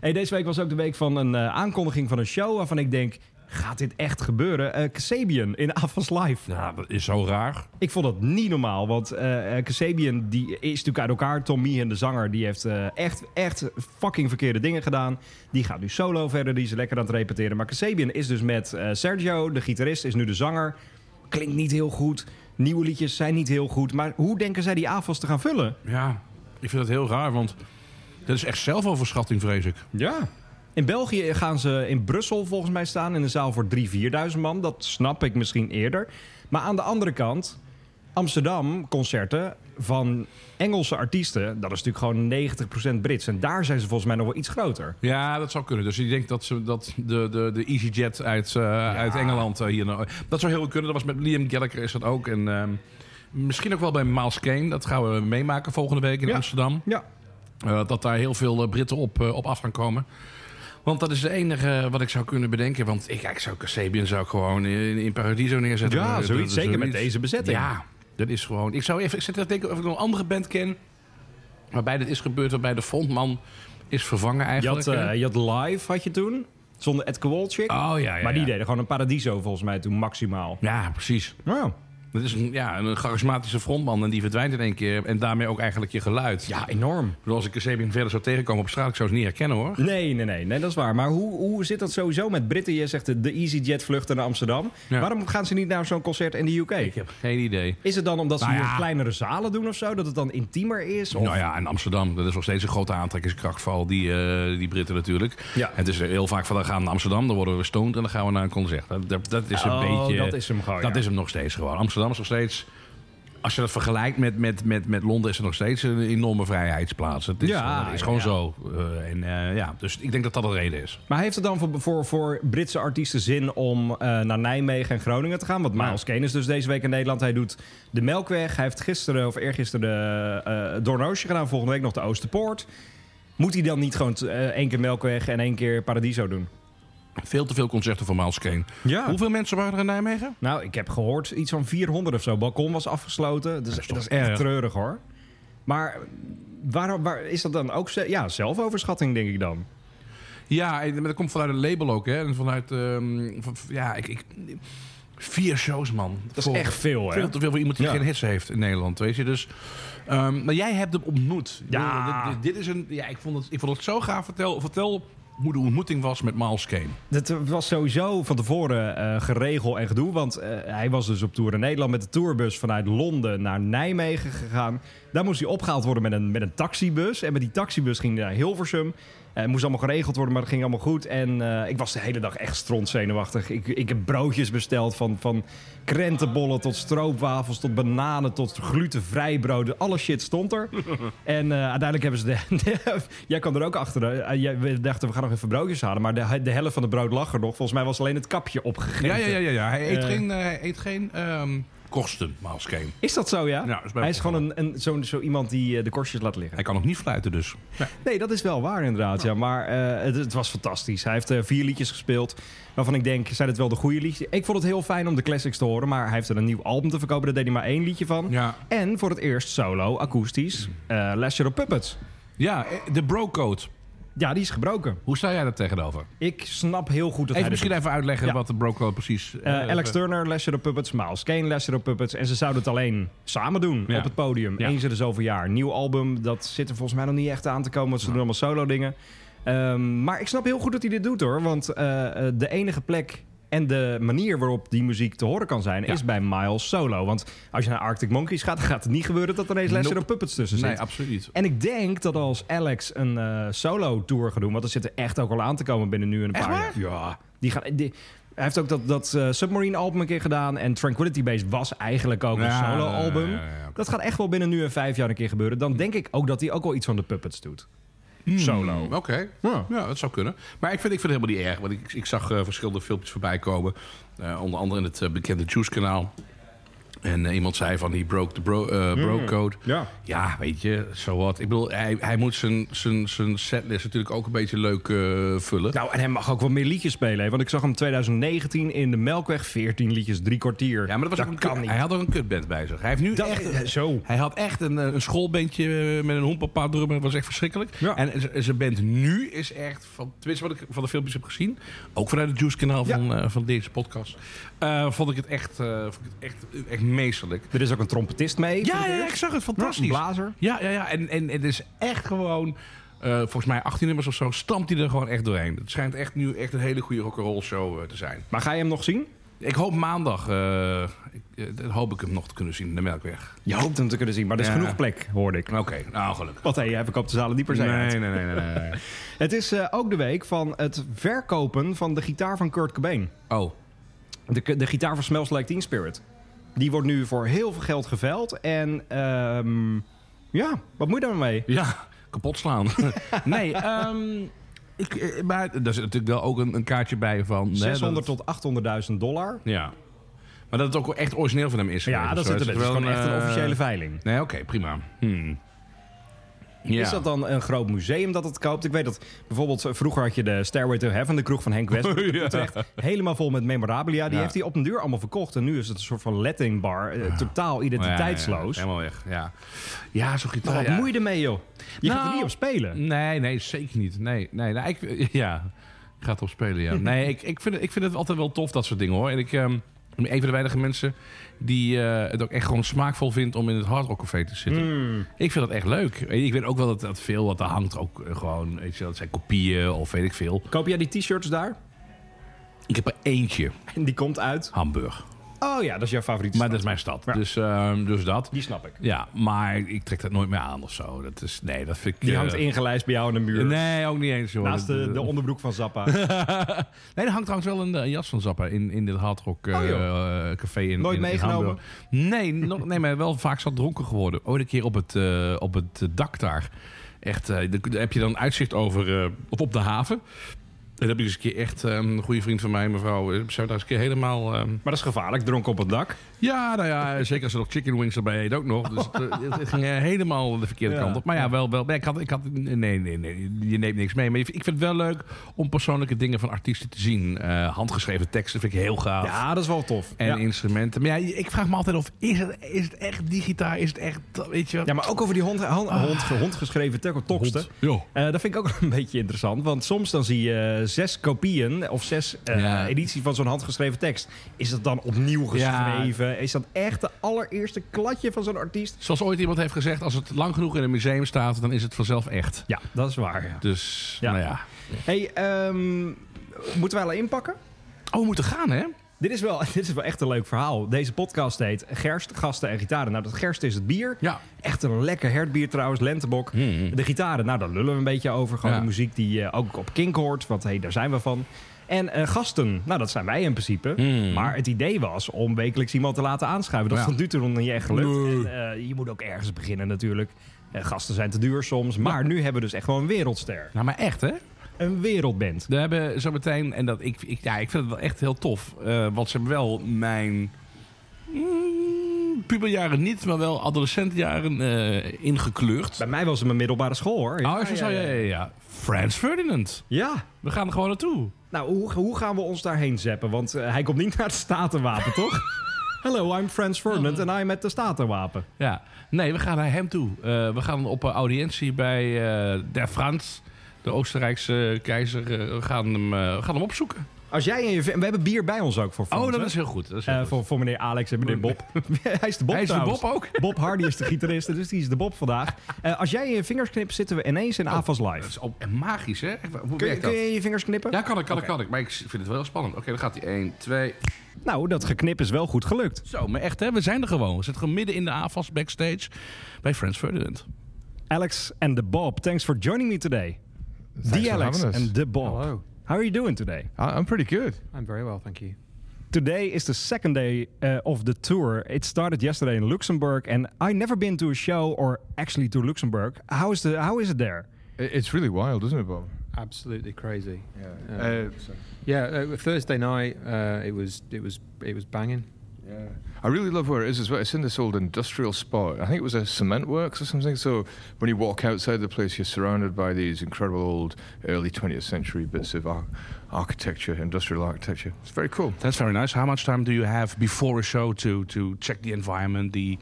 Speaker 2: Hey, deze week was ook de week van een eh, aankondiging van een show waarvan ik denk... Gaat dit echt gebeuren? Eh Kasabian in Avans Live.
Speaker 3: Ja, dat is zo raar.
Speaker 2: Ik vond dat niet normaal, want eh eh, Kasabian die is natuurlijk uit elkaar. Tom Meehan, de zanger, die heeft eh, echt, echt fucking verkeerde dingen gedaan. Die gaat nu solo verder, die is lekker aan het repeteren. Maar Kasabian is dus met eh, Sergio, de gitarist, is nu de zanger. Klinkt niet heel goed, nieuwe liedjes zijn niet heel goed. Maar hoe denken zij die avonds te gaan vullen?
Speaker 3: Ja, ik vind dat heel raar, want dat is echt zelfoverschatting, vrees ik.
Speaker 2: Ja. In België gaan ze in Brussel volgens mij staan in een zaal voor 3.000, 4.000 man. Dat snap ik misschien eerder. Maar aan de andere kant, Amsterdam concerten van Engelse artiesten, dat is natuurlijk gewoon 90% Brits. En daar zijn ze volgens mij nog wel iets groter.
Speaker 3: Ja, dat zou kunnen. Dus ik denk dat, ze, dat de, de, de EasyJet uit, eh, uit Engeland eh, hier... nou- Dat zou heel goed kunnen. Dat was met Liam Gallagher is dat ook. En ehm, misschien ook wel bij Miles Kane. Dat gaan we meemaken volgende week in
Speaker 2: Ja.
Speaker 3: Amsterdam.
Speaker 2: Ja.
Speaker 3: Eh, dat daar heel veel eh, Britten op, eh, op af gaan komen. Want dat is de enige eh, wat ik zou kunnen bedenken. Want ik, ja, ik zou Casabian zou ik gewoon in, in Paradiso neerzetten.
Speaker 2: Ja,
Speaker 3: Eh, dat-
Speaker 2: zoiets. Zeker met deze bezetting.
Speaker 3: Ja, dat is gewoon... Ik zou even ik zit te denken of ik nog een andere band ken... waarbij dit is gebeurd, waarbij de frontman is vervangen
Speaker 2: Je
Speaker 3: eigenlijk.
Speaker 2: had, eh, je had Live, had je toen, zonder Ed Kowalczyk.
Speaker 3: oh ja, ja,
Speaker 2: maar die
Speaker 3: ja.
Speaker 2: deden gewoon een Paradiso volgens mij toen maximaal.
Speaker 3: Ja, precies.
Speaker 2: Nou,
Speaker 3: Dat is een, ja, een charismatische frontman en die verdwijnt in één keer. En daarmee ook eigenlijk je geluid.
Speaker 2: ja, enorm.
Speaker 3: Ik bedoel, als ik Casabian verder zou tegenkomen op straat, ik zou ze niet herkennen hoor.
Speaker 2: Nee, nee, nee, nee, dat is waar. Maar hoe, hoe zit dat sowieso met Britten? Je zegt de, de EasyJet-vlucht naar Amsterdam.
Speaker 3: Ja.
Speaker 2: Waarom gaan ze niet naar zo'n concert in de UK?
Speaker 3: Ik heb geen idee.
Speaker 2: Is het dan omdat ze
Speaker 3: Nou
Speaker 2: hier
Speaker 3: ja.
Speaker 2: kleinere zalen doen of zo? Dat het dan intiemer is? Of...
Speaker 3: Nou ja, in Amsterdam, dat is nog steeds een grote aantrekkingskracht voor al die, eh, die Britten natuurlijk.
Speaker 2: Ja.
Speaker 3: Het is heel vaak van, dan gaan we naar Amsterdam, dan worden we stoned en dan gaan we naar een concert. Dat, dat, dat is een
Speaker 2: Oh,
Speaker 3: beetje...
Speaker 2: dat is hem gewoon,
Speaker 3: Dat
Speaker 2: ja.
Speaker 3: is hem nog steeds gewoon. Amsterdam is nog steeds... Als je dat vergelijkt met, met, met, met Londen, is er nog steeds een enorme vrijheidsplaats. Het is,
Speaker 2: Ja,
Speaker 3: dat is gewoon
Speaker 2: ja.
Speaker 3: zo. Eh, en, eh, ja, dus ik denk dat dat de reden is.
Speaker 2: Maar heeft het dan voor, voor, voor Britse artiesten zin om eh, naar Nijmegen en Groningen te gaan? Want Miles Kane is dus deze week in Nederland. Hij doet de Melkweg. Hij heeft gisteren of eergisteren de eh Doornroosje gedaan. Volgende week nog de Oosterpoort. Moet hij dan niet gewoon t- eh, één keer Melkweg en één keer Paradiso doen?
Speaker 3: Veel te veel concerten van Miles Kane.
Speaker 2: Ja.
Speaker 3: Hoeveel mensen waren er in Nijmegen?
Speaker 2: Nou, ik heb gehoord iets van 400 of zo. Balkon was afgesloten. Dus, dat is,
Speaker 3: toch
Speaker 2: echt
Speaker 3: erg.
Speaker 2: treurig hoor. Maar waar, waar is dat dan ook? ze- Ja, zelfoverschatting denk ik dan.
Speaker 3: Ja, en- maar dat komt vanuit het label ook, hè? En vanuit. ehm, van- van- ja, ik. ik Vier shows, man.
Speaker 2: Dat is echt veel, hè?
Speaker 3: Veel te veel voor iemand die
Speaker 2: Ja.
Speaker 3: geen hits heeft in Nederland, weet je. Dus, ehm, maar jij hebt hem ontmoet.
Speaker 2: Ja.
Speaker 3: Ik bedoel, Dit, dit is een, ja ik, vond het, ik vond het zo gaaf. Vertel, vertel hoe de ontmoeting was met Miles Kane.
Speaker 2: Dat was sowieso van tevoren eh, geregel en gedoe. Want eh, hij was dus op tour in Nederland met de tourbus vanuit Londen naar Nijmegen gegaan. Daar moest hij opgehaald worden met een, met een taxibus. En met die taxibus ging hij naar Hilversum. Eh, het moest allemaal geregeld worden, maar dat ging allemaal goed. En eh, ik was de hele dag echt strontzenuwachtig. Ik, ik heb broodjes besteld van, van krentenbollen tot stroopwafels... tot bananen tot glutenvrij broden. Alle shit stond er. En eh, uiteindelijk hebben ze de, de- Jij kwam er ook achter. hè? Eh, jij- we dachten, we gaan nog even broodjes halen. Maar de, de helft van het brood lag er nog. Volgens mij was alleen het kapje opgegeten.
Speaker 3: Ja, ja, ja, ja, ja. Hij eet
Speaker 2: Eh.
Speaker 3: geen, eh, hij eet geen ehm, kosten, Miles Kane.
Speaker 2: Is dat zo, ja?
Speaker 3: Ja, dat is bij
Speaker 2: Hij is
Speaker 3: opgevallen.
Speaker 2: gewoon een, een, zo'n- zo, iemand die eh, de korstjes laat liggen.
Speaker 3: Hij kan ook niet fluiten, dus.
Speaker 2: Nee, dat is wel waar inderdaad. Ja. Maar eh, het, het was fantastisch. Hij heeft eh, vier liedjes gespeeld. Waarvan ik denk, zijn het wel de goede liedjes? Ik vond het heel fijn om de classics te horen. Maar hij heeft er een nieuw album te verkopen. Daar deed hij maar één liedje van.
Speaker 3: Ja,
Speaker 2: En voor het eerst solo, akoestisch, eh Last Year of Puppets.
Speaker 3: ja eh, de bro-code.
Speaker 2: Ja, die is gebroken.
Speaker 3: Hoe sta jij daar tegenover?
Speaker 2: Ik snap heel goed dat hij...
Speaker 3: Even
Speaker 2: dit
Speaker 3: misschien even uitleggen
Speaker 2: Ja.
Speaker 3: wat de bro-code precies... eh,
Speaker 2: Eh, Alex Turner, Lesser of Puppets, Miles Kane, Lesser of Puppets. En ze zouden het alleen samen doen
Speaker 3: Ja.
Speaker 2: op het podium.
Speaker 3: Ja.
Speaker 2: Eens in de zoveel jaar. Nieuw album, dat zit er volgens mij nog niet echt aan te komen. Want ze doen allemaal solo dingen. Ehm, maar ik snap heel goed dat hij dit doet hoor. Want eh, eh, de enige plek en de manier waarop die muziek te horen kan zijn...
Speaker 3: Ja.
Speaker 2: is bij Miles solo. Want als je naar Arctic Monkeys gaat, dan gaat het niet gebeuren... dat er ineens Lesser
Speaker 3: Nope.
Speaker 2: of Puppets tussen zit.
Speaker 3: nee, absoluut niet.
Speaker 2: en ik denk dat als Alex een eh, solo-tour gaat doen... want dat zit er echt ook al aan te komen binnen nu en een paar jaar.
Speaker 3: Ja.
Speaker 2: Die gaan, die- hij heeft ook dat, dat eh, Submarine album een keer gedaan. En Tranquility Base was eigenlijk ook een
Speaker 3: Ja,
Speaker 2: solo album.
Speaker 3: ja, ja, ja, oké.
Speaker 2: Dat gaat echt wel binnen nu en vijf jaar een keer gebeuren. Dan denk ik ook dat hij ook wel iets van de puppets doet. Solo.
Speaker 3: Hmm, Oké, ja. dat zou kunnen. Maar ik vind, ik vind het helemaal niet erg. Want ik, ik zag eh, verschillende filmpjes voorbij komen. Eh, onder andere in het eh, bekende Juice-kanaal. En eh, iemand zei van, he broke the bro, eh, bro-code.
Speaker 2: Hmm. Ja.
Speaker 3: Ja, weet je, zo wat. Ik bedoel, hij, hij moet zijn, zijn, zijn setlist natuurlijk ook een beetje leuk eh, vullen.
Speaker 2: Nou, en hij mag ook wel meer liedjes spelen. hè. Want ik zag hem 2019 in de Melkweg. 14 liedjes, drie kwartier.
Speaker 3: Ja, maar dat was ook een
Speaker 2: kan
Speaker 3: kut-
Speaker 2: niet.
Speaker 3: Hij had ook een kutband bij zich. Hij, heeft nu
Speaker 2: Dat-
Speaker 3: echt, eh,
Speaker 2: zo.
Speaker 3: hij had echt een, eh, een schoolbandje eh, met een hoempapa drummer. Dat was echt verschrikkelijk.
Speaker 2: Ja.
Speaker 3: En z- zijn band nu is echt, van, tenminste wat ik van de filmpjes heb gezien... ook vanuit het Juice-kanaal
Speaker 2: Ja.
Speaker 3: van, eh, van deze podcast... eh, vond ik het echt, eh, vond ik het echt, echt meesterlijk.
Speaker 2: Er is ook een trompetist mee.
Speaker 3: Ja,
Speaker 2: voor de
Speaker 3: ja, ja,
Speaker 2: deur.
Speaker 3: ik zag het.
Speaker 2: Een
Speaker 3: Fantastisch.
Speaker 2: blazer.
Speaker 3: Ja, ja, ja. En, en het is echt gewoon... eh, volgens mij 18 nummers of zo stampt hij er gewoon echt doorheen. Het schijnt echt nu echt een hele goede rock'n'roll show eh, te zijn.
Speaker 2: Maar ga je hem nog zien?
Speaker 3: Ik hoop maandag, eh, ik, eh, dan hoop ik hem nog te kunnen zien in de Melkweg.
Speaker 2: Je hoopt hem te kunnen zien. Maar er is
Speaker 3: Ja.
Speaker 2: genoeg plek, hoorde ik.
Speaker 3: Oké, nou gelukkig.
Speaker 2: Want hé, hij verkoopt de zalen niet per se uit.
Speaker 3: nee, nee, nee, nee, nee.
Speaker 2: Het is eh, ook de week van het verkopen van de gitaar van Kurt Cobain.
Speaker 3: Oh,
Speaker 2: De, de gitaar van Smells Like Teen Spirit. Die wordt nu voor heel veel geld geveild. En ehm, ja, wat moet je daarmee?
Speaker 3: ja, kapot slaan. nee, ehm, ik, eh, maar daar zit natuurlijk wel ook een, een kaartje bij van... hè,
Speaker 2: 600
Speaker 3: dat-
Speaker 2: tot 800.000 dollar.
Speaker 3: Ja. Maar dat het ook echt origineel van hem is.
Speaker 2: Ja,
Speaker 3: geweest,
Speaker 2: dat
Speaker 3: zo.
Speaker 2: zit
Speaker 3: Het
Speaker 2: erbij. Het is gewoon echt een
Speaker 3: eh,
Speaker 2: officiële veiling.
Speaker 3: Nee, oké, prima. Hmm. Ja.
Speaker 2: Is dat dan een groot museum dat het koopt? Ik weet dat bijvoorbeeld eh, vroeger had je de Stairway to Heaven, de kroeg van Henk West.
Speaker 3: Ja.
Speaker 2: Helemaal vol met memorabilia. Die
Speaker 3: Ja. Ah.
Speaker 2: heeft hij op een duur allemaal verkocht. En nu is het een soort van lettingbar. eh, Totaal
Speaker 3: Ja, ja, ja,
Speaker 2: identiteitsloos.
Speaker 3: helemaal weg, ja. Ja, zo'n gitaar.
Speaker 2: Maar wat
Speaker 3: ja.
Speaker 2: moeite mee, joh? Je gaat er
Speaker 3: Nou,
Speaker 2: niet op spelen.
Speaker 3: Nee, nee, zeker niet. Nee, nee, nee ik, ja, ik ga het opspelen, ja. Nee, ik, ik, vind het, ik vind het altijd wel tof, dat soort dingen, hoor. En ik ehm, ben een van de weinige mensen die eh, het ook echt gewoon smaakvol vindt om in het Hard Rock Café te zitten.
Speaker 2: Hmm.
Speaker 3: Ik vind dat echt leuk. En Ik weet ook wel dat, dat veel wat er hangt ook eh, gewoon, weet je, dat zijn kopieën of weet ik veel.
Speaker 2: Koop jij die t-shirts daar?
Speaker 3: Ik heb er eentje,
Speaker 2: En die komt uit.
Speaker 3: Hamburg.
Speaker 2: Oh ja, dat is jouw favoriete.
Speaker 3: Maar
Speaker 2: stad.
Speaker 3: dat is mijn stad,
Speaker 2: Ja.
Speaker 3: dus, ehm, dus dat.
Speaker 2: Die snap ik.
Speaker 3: Ja, maar ik trek dat nooit meer aan of zo. Dat is, nee, dat vind ik...
Speaker 2: Die
Speaker 3: eh,
Speaker 2: hangt ingelijst bij jou aan de muur.
Speaker 3: Nee, ook niet eens, hoor.
Speaker 2: Naast
Speaker 3: Dat- eh,
Speaker 2: de, de onderbroek van Zappa.
Speaker 3: nee, er hangt trouwens wel een, eh, jas van Zappa in, in dit hardrock
Speaker 2: Oh,
Speaker 3: café in
Speaker 2: Nooit
Speaker 3: in- in
Speaker 2: meegenomen?
Speaker 3: Hamburg. nee, nog, nee, maar wel vaak zat dronken geworden. Ooit een keer op het, eh, op het eh, dak daar. Echt, eh, daar daar heb je dan uitzicht over, eh, of op de haven. En dat heb ik eens een keer echt, eh, een goede vriend van mij, mevrouw, eh, zijn we daar eens een keer helemaal... eh,
Speaker 2: Maar dat is gevaarlijk, dronken op het dak.
Speaker 3: ja, nou ja, zeker als er nog chicken wings erbij eet ook nog. Dus het, eh, het ging eh, helemaal de verkeerde
Speaker 2: Ja.
Speaker 3: kant op. Maar ja, wel, wel. nee, Ik had, ik had, nee, nee, nee, je neemt niks mee. Maar ik vind het wel leuk om persoonlijke dingen van artiesten te zien. Eh, handgeschreven teksten vind ik heel gaaf.
Speaker 2: Ja, dat is wel tof.
Speaker 3: En
Speaker 2: ja.
Speaker 3: instrumenten. Maar ja, ik vraag me altijd af, is het, is het echt digitaal? Is het echt, dat- weet je wel?
Speaker 2: Ja, maar ook over die hond,
Speaker 3: Ah.
Speaker 2: hond, hond, hondgeschreven teksten.
Speaker 3: Ja.
Speaker 2: Eh, dat vind ik ook een beetje interessant. Want soms dan zie je eh, zes kopieën of zes eh
Speaker 3: Ja.
Speaker 2: edities van zo'n handgeschreven tekst. Is dat dan opnieuw
Speaker 3: Ja.
Speaker 2: geschreven? Is dat echt de allereerste kladje van zo'n artiest?
Speaker 3: Zoals ooit iemand heeft gezegd, als het lang genoeg in een museum staat, dan is het vanzelf echt.
Speaker 2: Ja, dat is waar. ja.
Speaker 3: Dus,
Speaker 2: Ja.
Speaker 3: nou ja.
Speaker 2: Hey, ehm, moeten wij al inpakken?
Speaker 3: Oh, we moeten gaan, hè?
Speaker 2: Dit is, wel, dit is wel echt een leuk verhaal. Deze podcast heet Gerst, Gasten en Gitaren. Nou, dat gerst is het bier.
Speaker 3: Ja.
Speaker 2: Echt een lekker hertbier trouwens, lentebok. De gitaren, nou, daar lullen we een beetje over. Gewoon
Speaker 3: Hmm. Ja.
Speaker 2: de muziek die eh, ook op Kink hoort, want hey, daar zijn we van. En eh, gasten, nou, dat zijn wij in principe. Maar het idee was om wekelijks iemand te laten aanschuiven. Dat
Speaker 3: Hmm. Ja.
Speaker 2: is tot nu toe nog niet echt gelukt.
Speaker 3: Nee.
Speaker 2: En, eh, je moet ook ergens beginnen natuurlijk. Eh, gasten zijn te duur soms. Maar nu hebben we dus echt gewoon een wereldster.
Speaker 3: Nou, maar echt, hè?
Speaker 2: Een wereldband.
Speaker 3: We hebben zo meteen, en dat, ik, ik, ja, ik vind het wel echt heel tof, eh, want ze hebben wel mijn mm, puberjaren niet, maar wel adolescentenjaren eh ingekleurd.
Speaker 2: Bij mij was het mijn middelbare school, hoor.
Speaker 3: oh, zo, ja, ja, ja, ja. Frans Ferdinand.
Speaker 2: ja.
Speaker 3: We gaan er gewoon naartoe.
Speaker 2: Nou, hoe, hoe gaan we ons daarheen zeppen? Want eh, hij komt niet naar het statenwapen, toch? Hello, I'm Frans Ferdinand en I'm at the statenwapen.
Speaker 3: Ja. Nee, we gaan naar hem toe. Eh, we gaan op een audiëntie bij eh Der Frans, de Oostenrijkse keizer. eh, we, gaan hem, eh, we gaan hem opzoeken.
Speaker 2: Als jij en je... v- en We hebben bier bij ons ook voor Frans,
Speaker 3: Oh, dat
Speaker 2: hè?
Speaker 3: is heel goed. Dat is heel
Speaker 2: Eh,
Speaker 3: goed.
Speaker 2: voor, voor meneer Alex en meneer Bob. hij is de Bob
Speaker 3: Hij is de
Speaker 2: trouwens.
Speaker 3: Bob ook.
Speaker 2: Bob Hardy is de gitarist, dus die is de Bob vandaag. Eh, als jij in je vingers knipt, zitten we ineens in AFAS
Speaker 3: Dat
Speaker 2: Live.
Speaker 3: is ook magisch, hè? Echt, Hoe
Speaker 2: Kun je,
Speaker 3: werkt dat?
Speaker 2: kun je je vingers knippen?
Speaker 3: Ja, kan ik, kan ik, kan ik. Maar ik vind het wel heel spannend. Oké, dan gaat hij. 1, 2.
Speaker 2: Nou, dat geknip is wel goed gelukt.
Speaker 3: Zo, maar echt, hè? We zijn er gewoon. We zitten gewoon midden in de AFAS backstage bij Friends Ferdinand.
Speaker 2: Alex and the Bob, thanks for joining me today. the
Speaker 1: for
Speaker 2: Alex
Speaker 1: having us.
Speaker 2: and the Bob.
Speaker 6: Hello.
Speaker 2: How are you doing today?
Speaker 1: I- I'm pretty good.
Speaker 6: I'm very well, thank you.
Speaker 2: Today is the second day uh, of the tour. It started yesterday in Luxembourg, and I never been to a show or actually to Luxembourg. How is the how is it there?
Speaker 1: I- It's really wild, isn't it, Bob?
Speaker 6: Absolutely crazy.
Speaker 1: Yeah.
Speaker 6: Uh,
Speaker 1: Uh,
Speaker 6: yeah, uh, Thursday night uh, it was it was it was banging.
Speaker 1: Yeah. I really love where it is as well. It's in this old industrial spot. I think it was a cement works or something. So when you walk outside the place, you're surrounded by these incredible old early 20th century bits of ar- architecture, industrial architecture. It's very cool.
Speaker 3: That's very nice. How much time do you have before a show to, to check the environment, the, you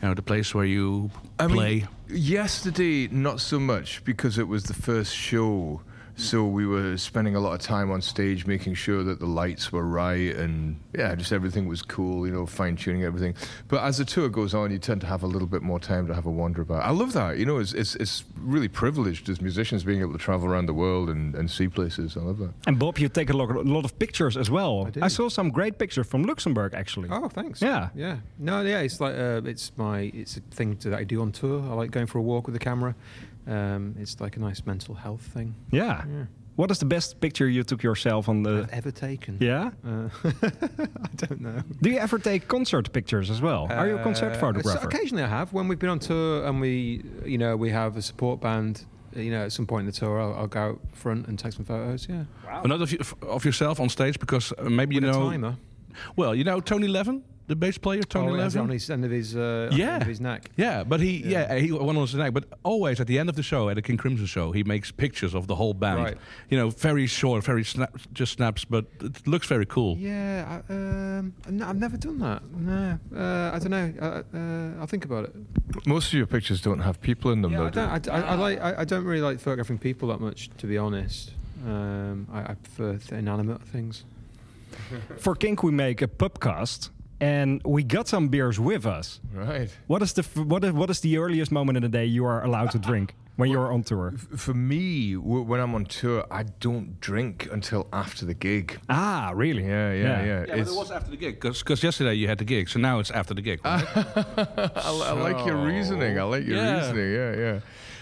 Speaker 3: know, the place where you play?
Speaker 1: yesterday, not so much because it was the first show. So we were spending a lot of time on stage making sure that the lights were right and yeah, just everything was cool, you know, fine tuning everything. But as the tour goes on, you tend to have a little bit more time to have a wander about. I love that, you know, it's it's, it's really privileged as musicians being able to travel around the world and, and see places. I love that.
Speaker 2: And Bob, you take a lot, a lot of pictures as well.
Speaker 6: do.
Speaker 2: I, saw some great pictures from Luxembourg actually.
Speaker 6: Oh, thanks.
Speaker 2: Yeah.
Speaker 6: yeah. No, yeah. It's like uh, it's my it's a thing that I do on tour. I like going for a walk with the camera. Um, it's like a nice mental health thing
Speaker 2: Yeah.
Speaker 6: Yeah.
Speaker 2: What is the best picture you took yourself on the?
Speaker 6: I've ever taken.
Speaker 2: Uh, Yeah.
Speaker 6: Uh, I don't know.
Speaker 2: Do you ever take concert pictures as well? Are you a concert
Speaker 6: Uh,
Speaker 2: photographer?
Speaker 6: so occasionally, I have. When we've been on tour and we, you know, we have a support band. You know, at some point in the tour, I'll, I'll go out front and take some photos. Yeah,
Speaker 3: But not of, you, of yourself on stage, because uh, maybe
Speaker 6: With
Speaker 3: you
Speaker 6: a
Speaker 3: know...
Speaker 6: timer.
Speaker 3: Well, you know Tony Levin, the bass player, Tony
Speaker 6: Oh, yeah, it's
Speaker 3: Levin?
Speaker 6: on his end of his uh,
Speaker 3: Yeah.
Speaker 6: end of his neck.
Speaker 3: Yeah, but he yeah, he went on his neck. But always at the end of the show, at the King Crimson show, he makes pictures of the whole band.
Speaker 6: Right.
Speaker 3: You know, very short, very snap, just snaps, but it looks very cool.
Speaker 6: Yeah, I, um, no, I've never done that. No, uh, I don't know. I, uh, I'll think about it.
Speaker 1: Most of your pictures don't have people in them,
Speaker 6: Yeah,
Speaker 1: though.
Speaker 6: I
Speaker 1: do
Speaker 6: don't. I, I, I like. I, I don't really like photographing people that much, to be honest. Um, I, I prefer th- inanimate things.
Speaker 2: For Kink, we make a pubcast, and we got some beers with us.
Speaker 1: they? Right.
Speaker 2: What is the f- what is, what is the earliest moment in the day you are allowed to drink when you are on tour?
Speaker 1: For me, w- when I'm on tour, I don't drink until after the gig.
Speaker 2: Ah, really?
Speaker 1: Yeah, yeah, yeah. It's-
Speaker 3: after the gig because yesterday you had the gig, so now it's after the gig.
Speaker 1: I, I like your reasoning. I like your
Speaker 3: Yeah.
Speaker 1: reasoning. Yeah, yeah.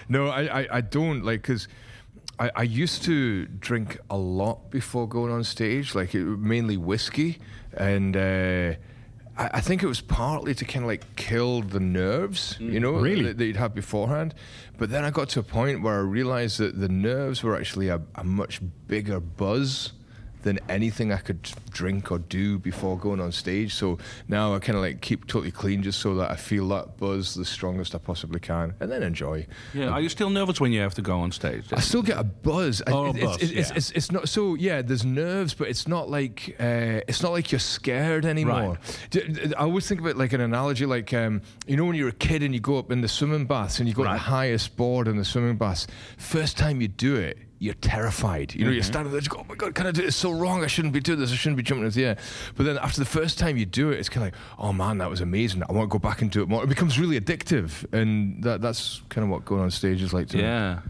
Speaker 1: No, I, I, I don't like because. I, I used to drink a lot before going on stage, like it, mainly whiskey, and uh, I, I think it was partly to kind of like kill the nerves, you know,
Speaker 2: Really?
Speaker 1: that, that you'd had beforehand. But then I got to a point where I realized that the nerves were actually a, a much bigger buzz than anything I could drink or do before going on stage. So now I kind of like keep totally clean just so that I feel that buzz the strongest I possibly can and then enjoy.
Speaker 3: yeah, are you still nervous when you have to go on stage?
Speaker 1: I still get a buzz. I-
Speaker 3: Oh, a
Speaker 1: it's,
Speaker 3: buzz,
Speaker 1: It's, it's,
Speaker 3: yeah.
Speaker 1: it's, it's not so. Yeah, there's nerves, but it's not like uh, it's not like you're scared anymore. D- d- I always think about like an analogy, like um, you know when you're a kid and you go up in the swimming baths and you go to the highest board in the swimming baths. First time you do it, you're terrified. You know,
Speaker 3: Mm-hmm.
Speaker 1: you're standing there, just go, oh my god, can I do this? It's so wrong. I shouldn't be doing this. I shouldn't be jumping into the air. But then after the first time you do it, it's kind of like, oh man, that was amazing. I want to go back and do it more. It becomes really addictive, and that, that's kind of what going on stage is like. To me.
Speaker 7: Yeah.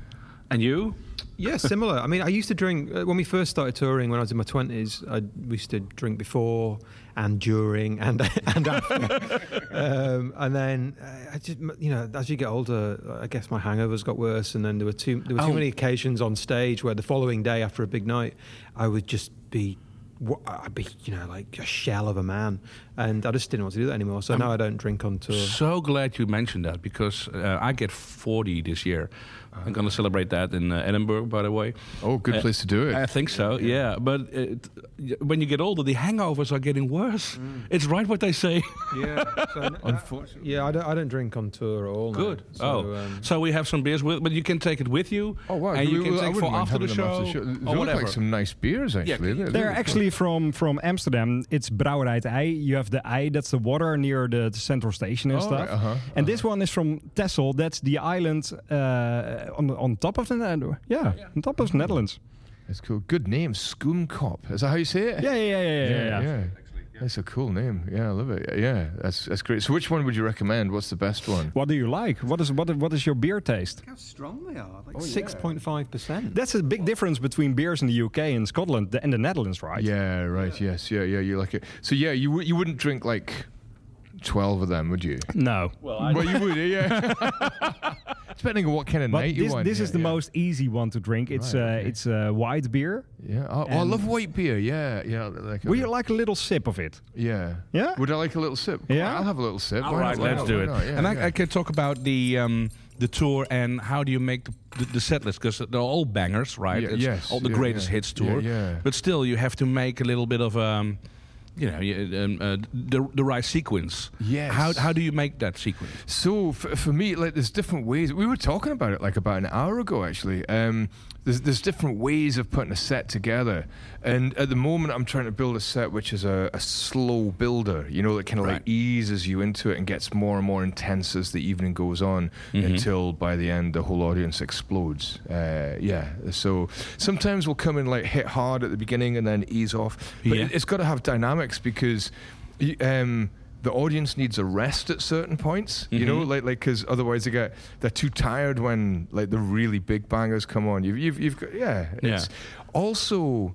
Speaker 7: And you?
Speaker 6: Yeah, similar. I mean, I used to drink uh, when we first started touring when I was in my twenties. I we used to drink before and during and and after, um, and then uh, I just you know as you get older, I guess my hangovers got worse, and then there were too there were too many occasions on stage where the following day after a big night, I would just be. wa- I'd be, you know, like a shell of a man, and I just didn't want to do that anymore. So now I don't drink on tour.
Speaker 3: So glad you mentioned that because uh, I get 40 this year. I'm going to celebrate that in uh, Edinburgh, by the way.
Speaker 1: Oh, good
Speaker 3: Uh,
Speaker 1: place to do it.
Speaker 3: I think so, yeah. But it, when you get older, the hangovers are getting worse.
Speaker 1: Mm.
Speaker 3: It's right what they say.
Speaker 6: Yeah, so n-
Speaker 1: Unfortunately.
Speaker 6: yeah, I don't, I don't drink on tour at all. now.
Speaker 3: Good.
Speaker 6: So,
Speaker 3: oh,
Speaker 6: um,
Speaker 3: so we have some beers with, but you can take it with you.
Speaker 1: Oh wow!
Speaker 3: And you
Speaker 1: We-
Speaker 3: can
Speaker 1: we- I
Speaker 3: take
Speaker 1: wouldn't
Speaker 3: for
Speaker 1: mind
Speaker 3: after
Speaker 1: having
Speaker 3: the,
Speaker 1: them
Speaker 3: show,
Speaker 1: after the show. They
Speaker 3: or
Speaker 1: look
Speaker 3: whatever.
Speaker 1: like some nice beers, actually.
Speaker 3: Yeah,
Speaker 1: They're-
Speaker 2: They're
Speaker 1: they're-
Speaker 2: actually from from Amsterdam. It's Brouwerij Ei. You have the Ei, that's the water near the, the central station and
Speaker 1: Oh,
Speaker 2: stuff.
Speaker 1: right, uh-huh,
Speaker 2: And this one is from Texel. That's the island uh, on the- on top of the yeah, on top of the Netherlands.
Speaker 1: That's cool. Good name, Skoomkop. Is that how you say it?
Speaker 2: Yeah, yeah, yeah, yeah. yeah, yeah.
Speaker 1: That's a cool name. Yeah, I love it. Yeah, that's that's great. So, which one would you recommend? What's the best one?
Speaker 2: What do you like? What is what what is your beer taste?
Speaker 5: How strong they are. Like
Speaker 6: Oh, Six point five percent.
Speaker 2: That's a big difference between beers in the UK and Scotland and the Netherlands, right?
Speaker 1: Yeah, right. Yes, yeah, yeah. You like it. So, yeah, you wou- you wouldn't drink like twelve of them, would you?
Speaker 2: No.
Speaker 1: Well, you would, yeah. Depending on what kind of
Speaker 2: But
Speaker 1: night
Speaker 2: this,
Speaker 1: you want.
Speaker 2: this
Speaker 1: yeah,
Speaker 2: is the
Speaker 1: yeah.
Speaker 2: most easy one to drink. It's
Speaker 1: Right,
Speaker 2: uh,
Speaker 1: okay.
Speaker 2: it's uh, white beer.
Speaker 1: Yeah. Oh, oh, I
Speaker 2: and-
Speaker 1: love white beer. Yeah, yeah. Like
Speaker 2: Would you like a little sip of it?
Speaker 1: Yeah.
Speaker 2: Yeah?
Speaker 1: Would I like a little sip?
Speaker 2: Yeah?
Speaker 1: I'll have a little sip.
Speaker 3: All
Speaker 1: Why
Speaker 3: right,
Speaker 1: not? Why
Speaker 3: let's
Speaker 1: not?
Speaker 3: do
Speaker 1: Why
Speaker 3: it.
Speaker 1: not? Yeah,
Speaker 3: and I,
Speaker 1: yeah.
Speaker 3: I can talk about the um, the tour and how do you make the, the, the set list because they're all bangers, right?
Speaker 1: Yeah,
Speaker 3: It's
Speaker 1: yes,
Speaker 3: all the
Speaker 1: yeah,
Speaker 3: greatest
Speaker 1: yeah.
Speaker 3: hits tour.
Speaker 1: Yeah, yeah.
Speaker 3: But still, you have to make a little bit of um, you know you, um, uh, the the right sequence.
Speaker 1: Yes.
Speaker 3: How how do you make that sequence?
Speaker 1: So for, for me, like there's different ways. We were talking about it like about an hour ago, actually. Um, there's there's different ways of putting a set together, and at the moment I'm trying to build a set which is a, a slow builder. You know, that kind of like eases you into it and gets more and more intense as the evening goes on,
Speaker 3: Mm-hmm.
Speaker 1: until by the end the whole audience explodes. Uh, yeah. So sometimes we'll come in like hit hard at the beginning and then ease off. But
Speaker 3: Yeah.
Speaker 1: it, it's got to have dynamics because. y- Um, the audience needs a rest at certain points, you know,
Speaker 3: Mm-hmm.
Speaker 1: like like because otherwise they get they're too tired when like the really big bangers come on. You've you've, you've got yeah. It's also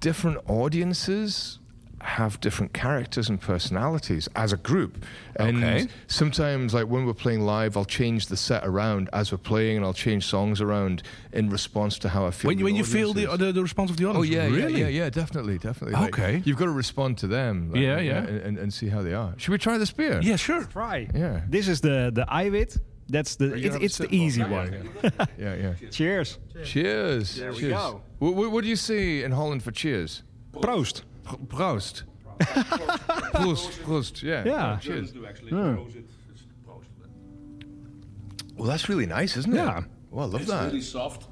Speaker 1: different audiences have different characters and personalities as a group. And
Speaker 3: Okay.
Speaker 1: sometimes like when we're playing live, I'll change the set around as we're playing and I'll change songs around in response to how I feel.
Speaker 3: When you,
Speaker 1: the
Speaker 3: when you feel
Speaker 1: audience
Speaker 3: the, uh,
Speaker 1: is.
Speaker 3: the the response of the
Speaker 1: Oh
Speaker 3: audience.
Speaker 1: yeah,
Speaker 3: really?
Speaker 1: yeah, yeah, yeah, definitely, definitely. Like,
Speaker 3: Okay.
Speaker 1: you've got to respond to them. like,
Speaker 3: Yeah, yeah.
Speaker 1: and, and- and see how they are. Should we try this beer?
Speaker 3: Yeah, sure.
Speaker 2: Try.
Speaker 1: Yeah.
Speaker 2: This is the the Eiwit. That's the
Speaker 1: you
Speaker 2: it,
Speaker 1: have a
Speaker 2: it's the
Speaker 1: sip of-
Speaker 2: easy
Speaker 1: Yeah,
Speaker 2: one.
Speaker 1: yeah, yeah.
Speaker 2: Cheers.
Speaker 1: Cheers. There we go. What, what, do you say in Holland for cheers?
Speaker 2: Proost.
Speaker 1: Pr- Proost. Proost, Proost. Yeah.
Speaker 2: Yeah.
Speaker 1: Cheers.
Speaker 3: actually.
Speaker 2: Hmm.
Speaker 1: Well, that's really nice, isn't it?
Speaker 2: Yeah.
Speaker 1: Well, I love that.
Speaker 3: soft,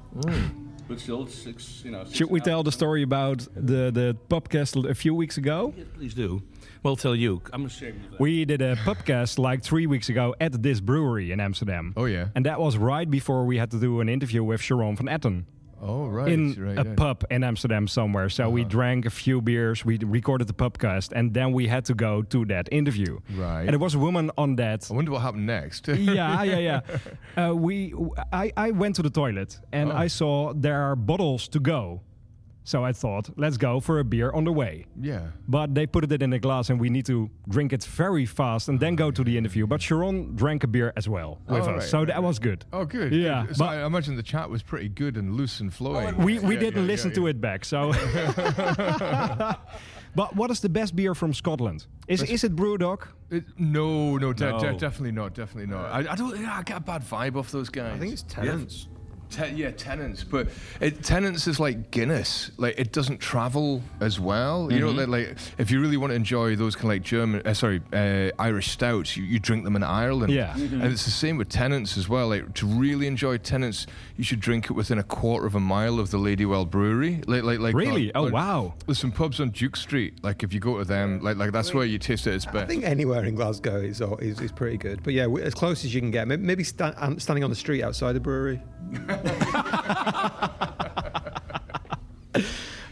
Speaker 3: but still six. You know.
Speaker 2: Should we tell the story about the the pubcast a few weeks ago?
Speaker 3: Please do. Well, tell you. I'm ashamed of that.
Speaker 2: We did a pubcast like three weeks ago at this brewery in Amsterdam.
Speaker 1: Oh, yeah.
Speaker 2: And that was right before we had to do an interview with Sharon van Etten
Speaker 1: Oh right.
Speaker 2: in
Speaker 1: right,
Speaker 2: a
Speaker 1: yeah. Uh-huh.
Speaker 2: pub in Amsterdam somewhere. So we drank a few beers, we recorded the pubcast, and then we had to go to that interview.
Speaker 1: Right.
Speaker 2: And there was a woman on that
Speaker 1: I wonder what happened next.
Speaker 2: yeah, yeah, yeah. Uh, we, I, I went to the toilet
Speaker 1: Oh.
Speaker 2: and I saw there are bottles to go. So I thought, let's go for a beer on the way.
Speaker 1: yeah.
Speaker 2: But they put it in a glass and we need to drink it very fast and
Speaker 1: Ah,
Speaker 2: then go to the interview. But Sharon drank a beer as well with
Speaker 1: Oh,
Speaker 2: us.
Speaker 1: right,
Speaker 2: so
Speaker 1: right,
Speaker 2: that
Speaker 1: right.
Speaker 2: was good.
Speaker 1: Oh, good.
Speaker 2: Yeah,
Speaker 1: good. So
Speaker 2: but-
Speaker 1: I imagine the chat was pretty good and loose and flowing.
Speaker 2: We, we didn't listen to it back. So. but what is the best beer from Scotland? Is, is it Brewdog?
Speaker 1: It, no, no, de- de-
Speaker 3: No.
Speaker 1: definitely not, definitely not. I, I don't. yeah, I get a bad vibe off those guys.
Speaker 6: I think it's tenants.
Speaker 1: Te- yeah, tenants, but it, tenants is like Guinness. Like it doesn't travel as well. You know, like,
Speaker 2: Mm-hmm.
Speaker 1: like if you really want to enjoy those kind of like German, uh, sorry, uh, Irish stouts, you, you drink them in Ireland.
Speaker 2: Yeah.
Speaker 6: Mm-hmm.
Speaker 1: and it's the same with tenants as well. Like to really enjoy tenants, you should drink it within a quarter of a mile of the Ladywell Brewery. Like, like, like
Speaker 2: Really?
Speaker 1: on-
Speaker 2: Oh,
Speaker 1: on-
Speaker 2: wow.
Speaker 1: There's some pubs on Duke Street. Like if you go to them, like, like that's where you taste it. It's
Speaker 6: I
Speaker 1: best.
Speaker 6: think anywhere in Glasgow is, uh, is, is pretty good. But yeah, w- as close as you can get. May- Maybe sta- um, standing on the street outside a brewery.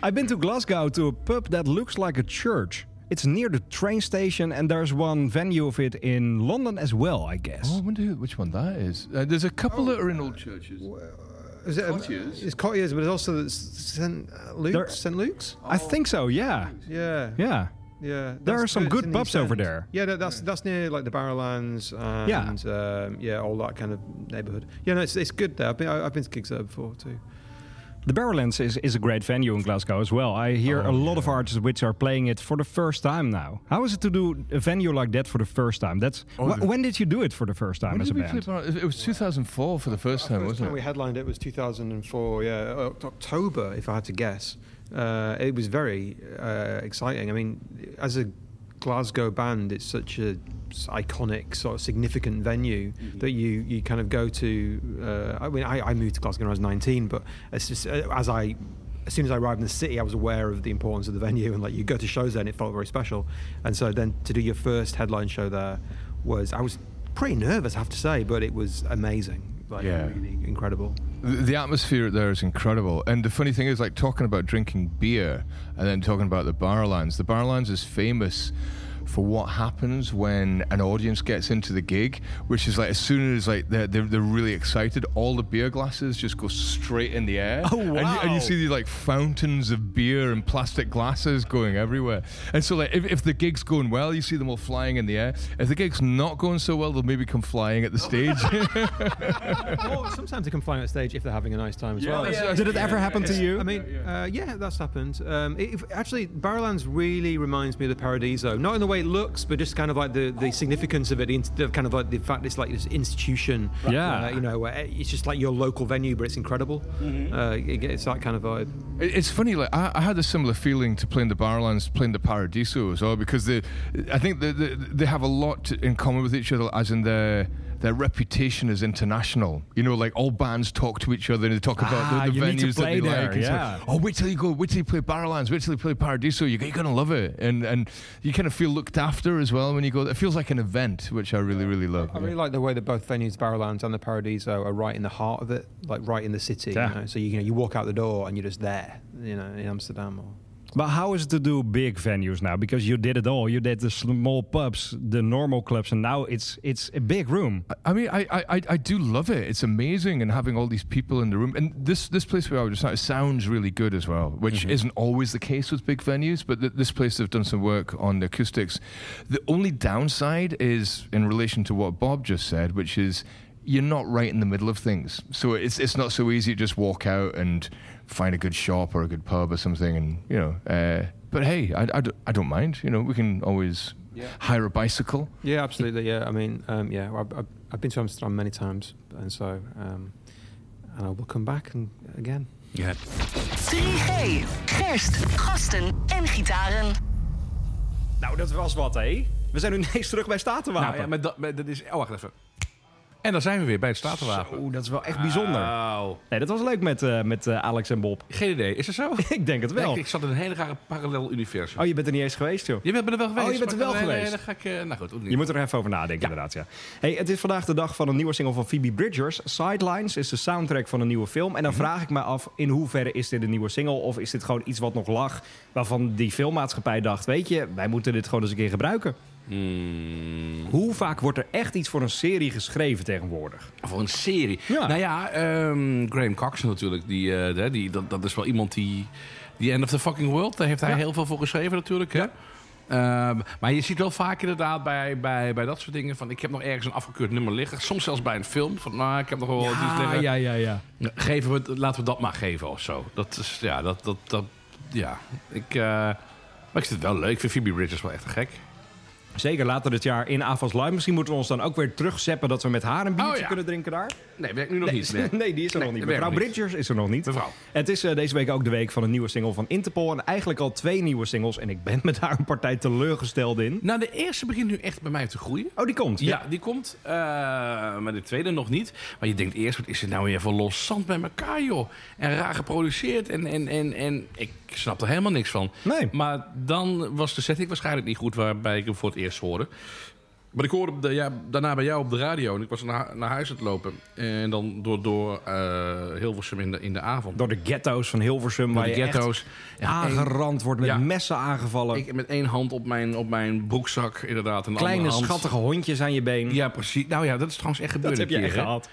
Speaker 2: I've been to Glasgow to a pub that looks like a church. It's near the train station, and there's one venue of it in London as well, I guess.
Speaker 1: Oh, I wonder who- which one that is. Uh, there's a couple
Speaker 6: Oh.
Speaker 1: that are in old churches.
Speaker 6: Is it,
Speaker 1: Cottiers?
Speaker 6: It's Cottiers, but it's also the S- St. Luke's.
Speaker 2: There-
Speaker 6: St. Luke's?
Speaker 2: I think so, yeah.
Speaker 6: Yeah.
Speaker 2: Yeah.
Speaker 6: Yeah,
Speaker 2: There
Speaker 6: that's
Speaker 2: are some
Speaker 6: it's
Speaker 2: good
Speaker 6: in the
Speaker 2: pubs
Speaker 6: East
Speaker 2: over
Speaker 6: End.
Speaker 2: there.
Speaker 6: Yeah, that, that's that's near like the Barrowlands and yeah, um, yeah all that kind of neighbourhood. Yeah, no, it's, it's good there. I've been, I- I've been to Kingston before too.
Speaker 2: The Barrowlands is, is a great venue in Glasgow as well. I hear a lot of artists which are playing it for the first time now. How is it to do a venue like that for the first time? That's wh- when did you do it for the first time
Speaker 1: When
Speaker 2: as
Speaker 1: did
Speaker 2: a
Speaker 1: we play
Speaker 2: band?
Speaker 1: Bar- It was 2004 for the first time,
Speaker 6: First
Speaker 1: wasn't
Speaker 6: time we
Speaker 1: it?
Speaker 6: headlined it was 2004. Yeah, O- October, if I had to guess. Uh, it was very uh, exciting. I mean, as a Glasgow band, it's such a s- iconic, sort of significant venue that you you kind of go to. Uh, I mean, I, I moved to Glasgow when I was 19, but it's just, uh, as I as soon as I arrived in the city, I was aware of the importance of the venue, and like you go to shows there, and it felt very special. And so then to do your first headline show there was I was pretty nervous, I have to say, but it was amazing. Like,
Speaker 1: Yeah.
Speaker 6: really incredible.
Speaker 1: The the atmosphere there is incredible. And the funny thing is, like, talking about drinking beer and then talking about the Barlands, the Barlands is famous for what happens when an audience gets into the gig, which is like as soon as like they're, they're, they're really excited, all the beer glasses just go straight in the air.
Speaker 2: Oh,
Speaker 1: And you- and
Speaker 2: wow.
Speaker 1: you see these like fountains of beer and plastic glasses going everywhere. And so like if, if the gig's going well, you see them all flying in the air. If the gig's not going so well, they'll maybe come flying at the stage.
Speaker 6: or sometimes they can fly on stage if they're having a nice time as well.
Speaker 2: Oh, Did it ever happen to you?
Speaker 6: I mean, yeah, uh, yeah that's happened. Um, it, if- actually, Barrowlands really reminds me of the Paradiso, not in the way it looks, but just kind of like the, the significance of it, the, int- the kind of like the fact it's like this institution.
Speaker 2: Yeah.
Speaker 6: uh, you know, where it's just like your local venue, but it's incredible. Uh, it- it's that kind of vibe.
Speaker 1: It- It's funny, like I, I had a similar feeling to playing the Barlands, playing the Paradiso as well, because they, I think they, they, they have a lot to- in common with each other, as in their their reputation is international. You know, like all bands talk to each other and they talk
Speaker 2: Ah,
Speaker 1: about the, the
Speaker 2: you need
Speaker 1: venues
Speaker 2: to play
Speaker 1: that they
Speaker 2: there,
Speaker 1: like. and so-
Speaker 2: yeah.
Speaker 1: oh, wait till you go, wait till you play Barlands, wait till you play Paradiso, you're, you're gonna love it, and and you kind of feel looked after as well when you go. there. It feels like an event, which I really really love.
Speaker 6: I really like the way that both venues, Barrowlands and the Paradiso, are right in the heart of it, like right in the city.
Speaker 2: Yeah.
Speaker 6: You know? So you, you know, you walk out the door and you're just there. You know, in Amsterdam or.
Speaker 2: But how is it to do big venues now? Because you did it all. You did the small pubs, the normal clubs, and now it's it's a big room.
Speaker 1: I mean, I, I, I- I do love it. It's amazing, and having all these people in the room. And this this place where I was just at sounds really good as well, which isn't always the case with big venues. But th- this place they've done some work on the acoustics. The only downside is in relation to what Bob just said, which is you're not right in the middle of things, so it's it's not so easy to just walk out and find a good shop or a good pub or something, and you know. Uh, but hey, I, I, d- I don't mind. You know, we can always hire a bicycle.
Speaker 6: Yeah, absolutely. Yeah, I mean, um, yeah, I've, I've, I've been to Amsterdam many times, and so um, and I will come back and again.
Speaker 4: 3G, gerst, gasten en gitaren.
Speaker 2: Nou, dat was wat, hé. We zijn nu ineens terug bij Statenwapen.
Speaker 3: Nou, ja, maar dat, maar dat is... Oh, wacht even. En dan zijn we weer bij het Statenwapen.
Speaker 2: Zo, dat is wel echt bijzonder.
Speaker 3: Wauw.
Speaker 2: Ah. Nee, dat was leuk met, eh, met eh, Alex en Bob.
Speaker 3: Geen idee. Is dat zo?
Speaker 2: ik denk het wel.
Speaker 3: Ik, ik zat in een hele rare parallel universum.
Speaker 2: Oh, je bent er niet eens geweest, joh.
Speaker 3: Je bent er wel geweest.
Speaker 2: Oh, je bent er
Speaker 3: maar-
Speaker 2: wel
Speaker 3: nee, nee,
Speaker 2: geweest.
Speaker 3: dan ga ik... eh, nou goed.
Speaker 2: Je moet er even over nadenken, inderdaad. Ja. Hey, het is vandaag de dag van een nieuwe single van Phoebe Bridgers. Sidelines is de soundtrack van een nieuwe film. En dan vraag ik me af, in hoeverre is dit een nieuwe single? Of is dit gewoon iets wat nog lag, waarvan die filmmaatschappij dacht... weet je, wij moeten dit gewoon eens een keer gebruiken. Hoe vaak wordt er echt iets voor een serie geschreven tegenwoordig?
Speaker 3: Voor een serie.
Speaker 2: Ja.
Speaker 3: Nou ja, ehm, Graham Cox natuurlijk. Die, eh, de- die, dat, dat is wel iemand die... Die End of the Fucking World, daar heeft hij heel veel voor geschreven natuurlijk. Hè? Ehm, maar je ziet wel vaak inderdaad bij, bij, bij dat soort dingen van... ik heb nog ergens een afgekeurd nummer liggen. Soms zelfs bij een film. Van, nou, ik heb nog wel iets liggen.
Speaker 2: Ah,
Speaker 3: Nou,
Speaker 2: ja, ja, ja.
Speaker 3: Geven we, het- laten we dat maar geven of zo. Dat is, ja, dat, dat, dat, ja. Ik, eh, maar ik vind het wel leuk. Ik vind Phoebe Bridges wel echt te gek.
Speaker 2: Zeker later dit jaar in Avas Live. Misschien moeten we ons dan ook weer terugzeppen dat we met haar een biertje
Speaker 3: Oh, ja.
Speaker 2: kunnen drinken daar.
Speaker 3: Nee, werkt nu nog niet.
Speaker 2: Nee,
Speaker 3: Nee.
Speaker 2: die is er nog niet.
Speaker 3: dat werkt
Speaker 2: Mevrouw
Speaker 3: nog niet.
Speaker 2: Bridgers is er nog niet.
Speaker 3: Mevrouw.
Speaker 2: Het is eh, deze week ook de week van een nieuwe single van Interpol. En eigenlijk al twee nieuwe singles. En ik ben met daar een partij teleurgesteld in.
Speaker 3: Nou, de eerste begint nu echt bij mij te groeien.
Speaker 2: Oh, die komt.
Speaker 3: Ja, die komt. eh, maar de tweede nog niet. Maar je denkt eerst, wat is het nou weer voor los zand bij elkaar, joh? En raar geproduceerd. En, en, en, en ik snap er helemaal niks van.
Speaker 2: Nee.
Speaker 3: Maar dan was de setting waarschijnlijk niet goed waarbij ik hem voor het eerst hoorde. Maar ik hoorde de- ja, daarna bij jou op de radio. En ik was naar, naar huis aan het lopen. En dan door, door eh Hilversum in de, in de avond.
Speaker 2: Door de ghetto's van Hilversum,
Speaker 3: Door
Speaker 2: waar
Speaker 3: de
Speaker 2: je echt
Speaker 3: ghetto's. Ja, en
Speaker 2: aangerand wordt, met
Speaker 3: Ja.
Speaker 2: messen aangevallen.
Speaker 3: ik met één hand op mijn, op mijn broekzak, inderdaad. En de
Speaker 2: Kleine
Speaker 3: andere hand-
Speaker 2: schattige hondjes aan je been.
Speaker 3: Ja, precies. Nou ja, dat is trouwens echt gebeurd.
Speaker 2: dat heb
Speaker 3: een
Speaker 2: jij
Speaker 3: keer, hè.
Speaker 2: gehad.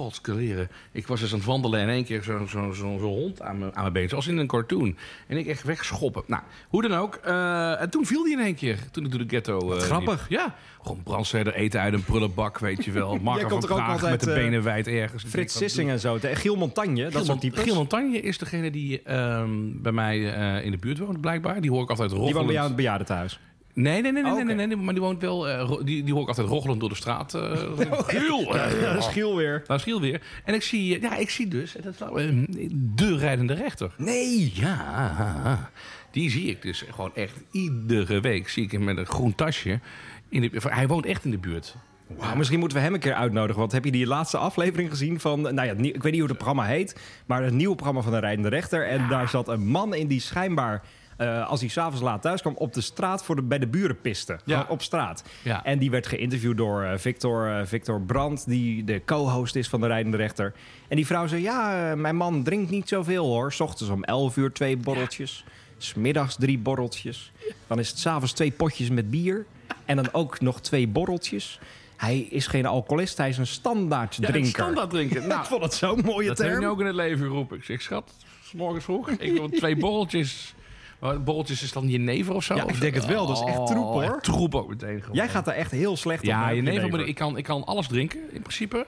Speaker 3: Godskeleren. Ik was eens aan het wandelen en in één keer zo'n zo, zo, zo'n hond aan mijn, aan mijn been. Zoals in een cartoon. En ik echt wegschoppen. Nou, hoe dan ook. eh, en toen viel die in één keer. Toen ik door de ghetto eh,
Speaker 2: grappig.
Speaker 3: liep. Ja. Gewoon brandsteder eten uit een prullenbak, weet je wel. Marco
Speaker 2: komt
Speaker 3: van
Speaker 2: toch ook
Speaker 3: Praag
Speaker 2: altijd,
Speaker 3: met de
Speaker 2: eh,
Speaker 3: benen wijd ergens.
Speaker 2: Frits Sissing en zo. De- Giel Montagne, dat soort types.
Speaker 3: Gil Montagne is degene die ehm, bij mij eh, in de buurt woont, blijkbaar. Die hoor ik altijd
Speaker 2: Die woont bij jou in
Speaker 3: roggelend.
Speaker 2: het bejaardentehuis.
Speaker 3: Nee, nee, nee, nee,
Speaker 2: Oh,
Speaker 3: nee,
Speaker 2: oké.
Speaker 3: nee, nee, maar die woont wel. eh, ro- die, die hoor ik altijd roggelend door de straat. eh
Speaker 2: Oh,
Speaker 3: Giel!
Speaker 2: Dat is Giel weer.
Speaker 3: Nou, Schiel weer. En ik zie, eh, ja, ik zie dus, en dat is nou, eh, de rijdende rechter.
Speaker 2: Nee!
Speaker 3: Ja, die zie ik dus gewoon echt iedere week. Zie ik hem met een groen tasje. In de, hij woont echt in de buurt.
Speaker 2: Wauw, misschien moeten we hem een keer uitnodigen. Want heb je die laatste aflevering gezien van... Nou ja, het nieuw- ik weet niet hoe het programma heet. Maar het nieuwe programma van de Rijdende Rechter. En daar zat een man in die schijnbaar... eh, als hij s'avonds laat thuis kwam, op de straat voor de, bij de buren piste. Gewoon op straat.
Speaker 3: Ja.
Speaker 2: En die werd geïnterviewd door eh, Victor, eh, Victor Brandt, die de co-host is van de Rijdende Rechter. En die vrouw zei, ja, eh, mijn man drinkt niet zoveel hoor. 's ochtends om 11 uur twee borreltjes. 's Smiddags drie borreltjes. Dan is het s'avonds twee potjes met bier. En dan ook nog twee borreltjes. Hij is geen alcoholist, hij is een standaard
Speaker 3: Ja,
Speaker 2: drinker. Nou,
Speaker 3: standaard drinken.
Speaker 2: Ik vond het zo'n mooie
Speaker 3: Nou, dat heb
Speaker 2: term.
Speaker 3: ik ook in het leven geroepen. Ik zeg, schat, 's morgens vroeg. Ik wil twee borreltjes. Maar borreltjes is dan jenever of zo? Oh,
Speaker 2: Ja, ik denk het wel. Dat is echt troep, hoor.
Speaker 3: echt troep ook meteen. Gewoon.
Speaker 2: Jij gaat er echt heel slecht op.
Speaker 3: Ja,
Speaker 2: hè,
Speaker 3: jenever,
Speaker 2: jenever.
Speaker 3: moet ik, ik kan, ik kan alles drinken in principe.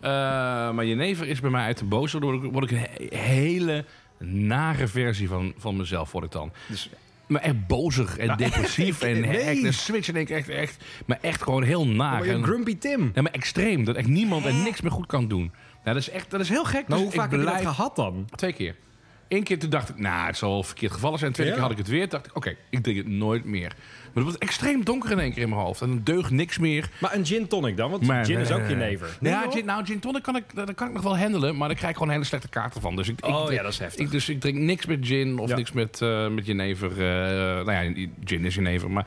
Speaker 3: Eh, maar jenever is bij mij uit de boos. Dan word ik, word ik een he- hele nare versie van, van mezelf, word ik dan.
Speaker 2: Dus-
Speaker 3: maar echt bozig en depressief en
Speaker 2: nee.
Speaker 3: echt een switch. En ik echt, echt, maar echt gewoon heel naar.
Speaker 2: Maar je
Speaker 3: en,
Speaker 2: Grumpy Tim.
Speaker 3: nee, maar extreem. Dat echt niemand en niks meer goed kan doen. Nou, dat is echt, dat is heel gek.
Speaker 2: Maar
Speaker 3: Dus
Speaker 2: hoe vaak
Speaker 3: ik
Speaker 2: heb je dat
Speaker 3: blijf-
Speaker 2: gehad dan?
Speaker 3: Twee keer. Eén keer toen dacht ik, nou, het zal wel verkeerd gevallen zijn. Tweede
Speaker 2: Ja.
Speaker 3: keer had ik het weer. dacht ik, oké, ik drink het nooit meer. Maar het wordt extreem donker in één keer in mijn hoofd. En dan deugt niks meer.
Speaker 2: Maar een gin tonic dan? Want
Speaker 3: Maar-
Speaker 2: gin is
Speaker 3: nee,
Speaker 2: ook
Speaker 3: nee,
Speaker 2: jenever.
Speaker 3: Nee, ja,
Speaker 2: hoor.
Speaker 3: gin, nou, gin tonic kan ik, dat kan ik nog wel handelen, maar daar krijg ik gewoon hele slechte kaarten van. Dus ik, ik,
Speaker 2: Oh ja, dat is heftig.
Speaker 3: ik- dus ik drink niks met gin of
Speaker 2: Ja.
Speaker 3: niks met, eh met jenever. eh, nou ja, gin is jenever, maar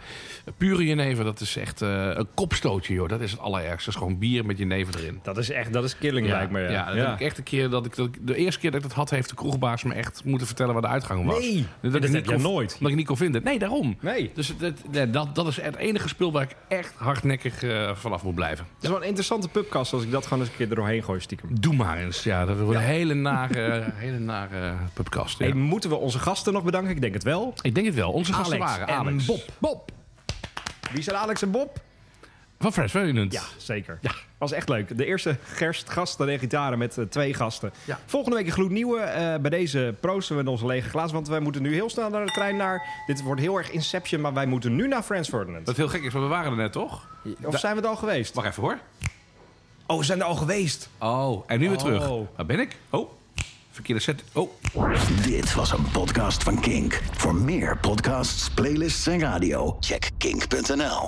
Speaker 3: pure jenever, dat is echt eh, een kopstootje, joh. Dat is het allerergste. Dat is gewoon bier met jenever erin.
Speaker 2: Dat is echt, dat is killing lijkt me. Ja.
Speaker 3: dat heb ik echt een keer dat ik dat ik- de eerste keer dat ik dat had, heeft de kroegbaas me echt moeten vertellen waar de uitgang was.
Speaker 2: Nee,
Speaker 3: dat,
Speaker 2: dat
Speaker 3: ik
Speaker 2: heb
Speaker 3: niet
Speaker 2: jij
Speaker 3: kon-
Speaker 2: nooit.
Speaker 3: Dat ik niet kon vinden. Nee, daarom.
Speaker 2: Nee.
Speaker 3: Dus het- het- nee, dat, dat is het enige speel waar ik echt hardnekkig eh, vanaf moet blijven.
Speaker 2: Het is wel een interessante pubkast als ik dat gewoon eens een keer er doorheen gooi stiekem.
Speaker 3: Doe maar eens. Ja, dat wordt een hele nare, hele nare podcast. ja.
Speaker 2: Hey, moeten we onze gasten nog bedanken? Ik denk het wel.
Speaker 3: Ik denk het wel. Onze gasten
Speaker 2: Alex
Speaker 3: waren
Speaker 2: en
Speaker 3: Alex.
Speaker 2: Bob.
Speaker 3: Bob.
Speaker 2: Wie zijn Alex en Bob?
Speaker 3: Van Fresh Ferdinand.
Speaker 2: Ja, zeker. Was echt leuk. De eerste gerst gasten en gitaren met eh, twee gasten.
Speaker 3: Ja.
Speaker 2: Volgende week een gloednieuwe. Eh, bij deze proosten we in onze lege glazen. Want wij moeten nu heel snel naar de trein naar... Dit wordt heel erg Inception, maar wij moeten nu naar Frans Ferdinand.
Speaker 3: Wat heel gek is, want we waren er net, toch?
Speaker 2: Of zijn we het al geweest?
Speaker 3: Wacht even hoor.
Speaker 2: Oh, we zijn er al geweest.
Speaker 3: Oh, en nu weer terug.
Speaker 2: Oh.
Speaker 3: Waar ben ik? Oh, verkeerde set. Oh.
Speaker 7: Dit was een podcast van Kink. Voor meer podcasts, playlists en radio, check kink.nl.